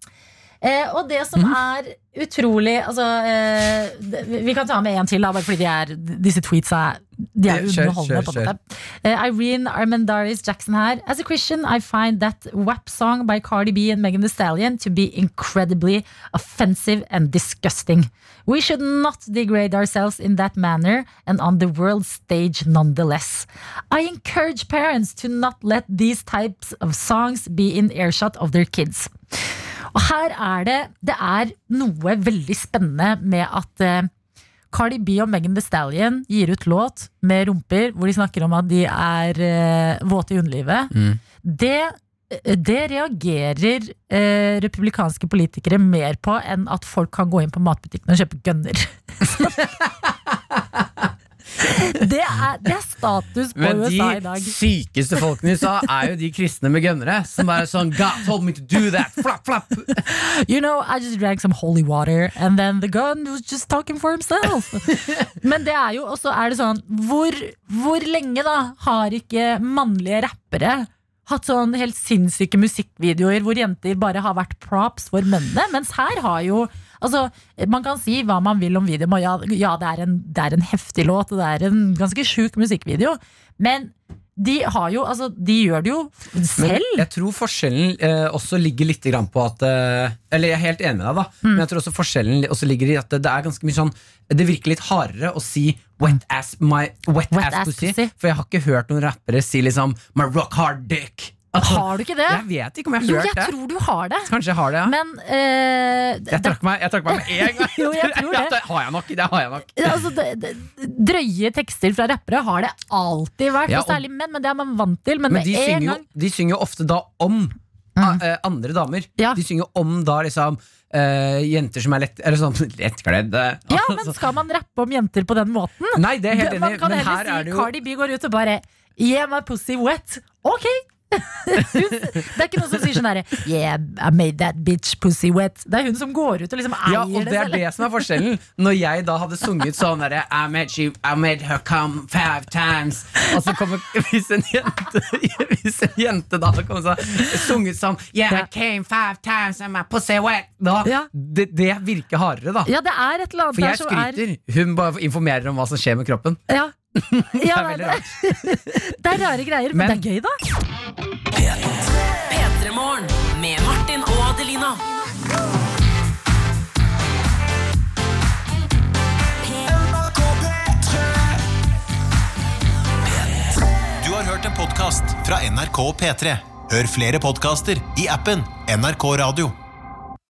Eh, og det Mhm. som er utrolig altså, eh, det- Vi kan ta med en til, da, bare fordi de er, disse tweetsa er- de er Ja, Eh, kjør, underholdende. kjør, på en måte. Eh, Irene Armendaris Jackson her. As a Christian, I find that WAP song by Cardi B and Megan Thee Stallion to be incredibly offensive and disgusting. We should not degrade ourselves in that manner and on the world stage nonetheless. I encourage parents to not let these types of songs be in earshot of their kids. Og her er det Det er noe veldig spennende med at eh, Cardi B og Megan Thee Stallion gir ut låt med rumper hvor de snakker om at de er eh, våte i underlivet. Mm. Det, eh, det reagerer eh, republikanske politikere mer på enn at folk kan gå inn på matbutikken og kjøpe gunner. det, er, det er status på Men USA i de dag. sykeste folkene i USA er jo de kristne med gønnere. Som bare sånn God told me to do that! Flapp, flapp! You know, I just drank some holy water, and then the gun was just talking for himself. Men det er jo også er det sånn hvor, hvor lenge da har ikke mannlige rappere hatt sånn helt sinnssyke musikkvideoer hvor jenter bare har vært props for mennene? Mens her har jo Altså, Man kan si hva man vil om videoen, og ja, ja det, er en, det er en heftig låt, og det er en ganske sjuk musikkvideo, men de har jo Altså, de gjør det jo selv. Men jeg tror forskjellen eh, også ligger litt grann på at eh, Eller jeg er helt enig med deg, da. Men Mm. jeg tror også forskjellen li- også ligger i at det, det er ganske mye sånn Det virker litt hardere å si wet ass, my, wet ass, ass pussy, For jeg har ikke hørt noen rappere si liksom my rock hard dick. Altså, Har du ikke det? Jeg vet ikke om jeg har jo, hørt jeg det. tror du har det. Kanskje jeg har det, ja. Men eh, Jeg trakk meg, jeg trakk meg med en gang. Jo, jeg tror det. det har jeg nok. Det har jeg nok. altså, det, det, drøye tekster fra rappere har det alltid vært, Ja, og særlig menn. Men det er man vant til. Men, Men med de en synger, jo, gang Mm. de synger jo ofte da om a- eh, andre damer. De synger jo om da liksom eh, jenter som er lett, eller sånn lettkledde. Ja, men skal man rappe om jenter på den måten? Nei, det er jeg helt Man enig i, kan men her heller er si det jo- Cardi B går ut og bare Yeah, my pussy wet. Ok! det er ikke noen som sier sånn herre Yeah, I made that bitch pussy wet. Det er hun som går ut og liksom eier Ja, og det er det som er forskjellen. Når jeg da hadde sunget sånn derre I made she, I made her come five times Og så kommer Hvis en jente Hvis en jente da hadde kommet sånn sunget sånn Yeah, I came five times and my pussy wet da, det, det virker hardere, da. Ja, det er et eller For annet der jeg som er- skryter. Hun bare informerer om hva som skjer med kroppen. Ja. det Ja, er det, veldig rart. det er rare greier, men, Men- det er gøy, da. P3morgen med Martin og Adelina. Du har hørt en podcast fra NRK P3. Hør flere podcaster i appen NRK Radio.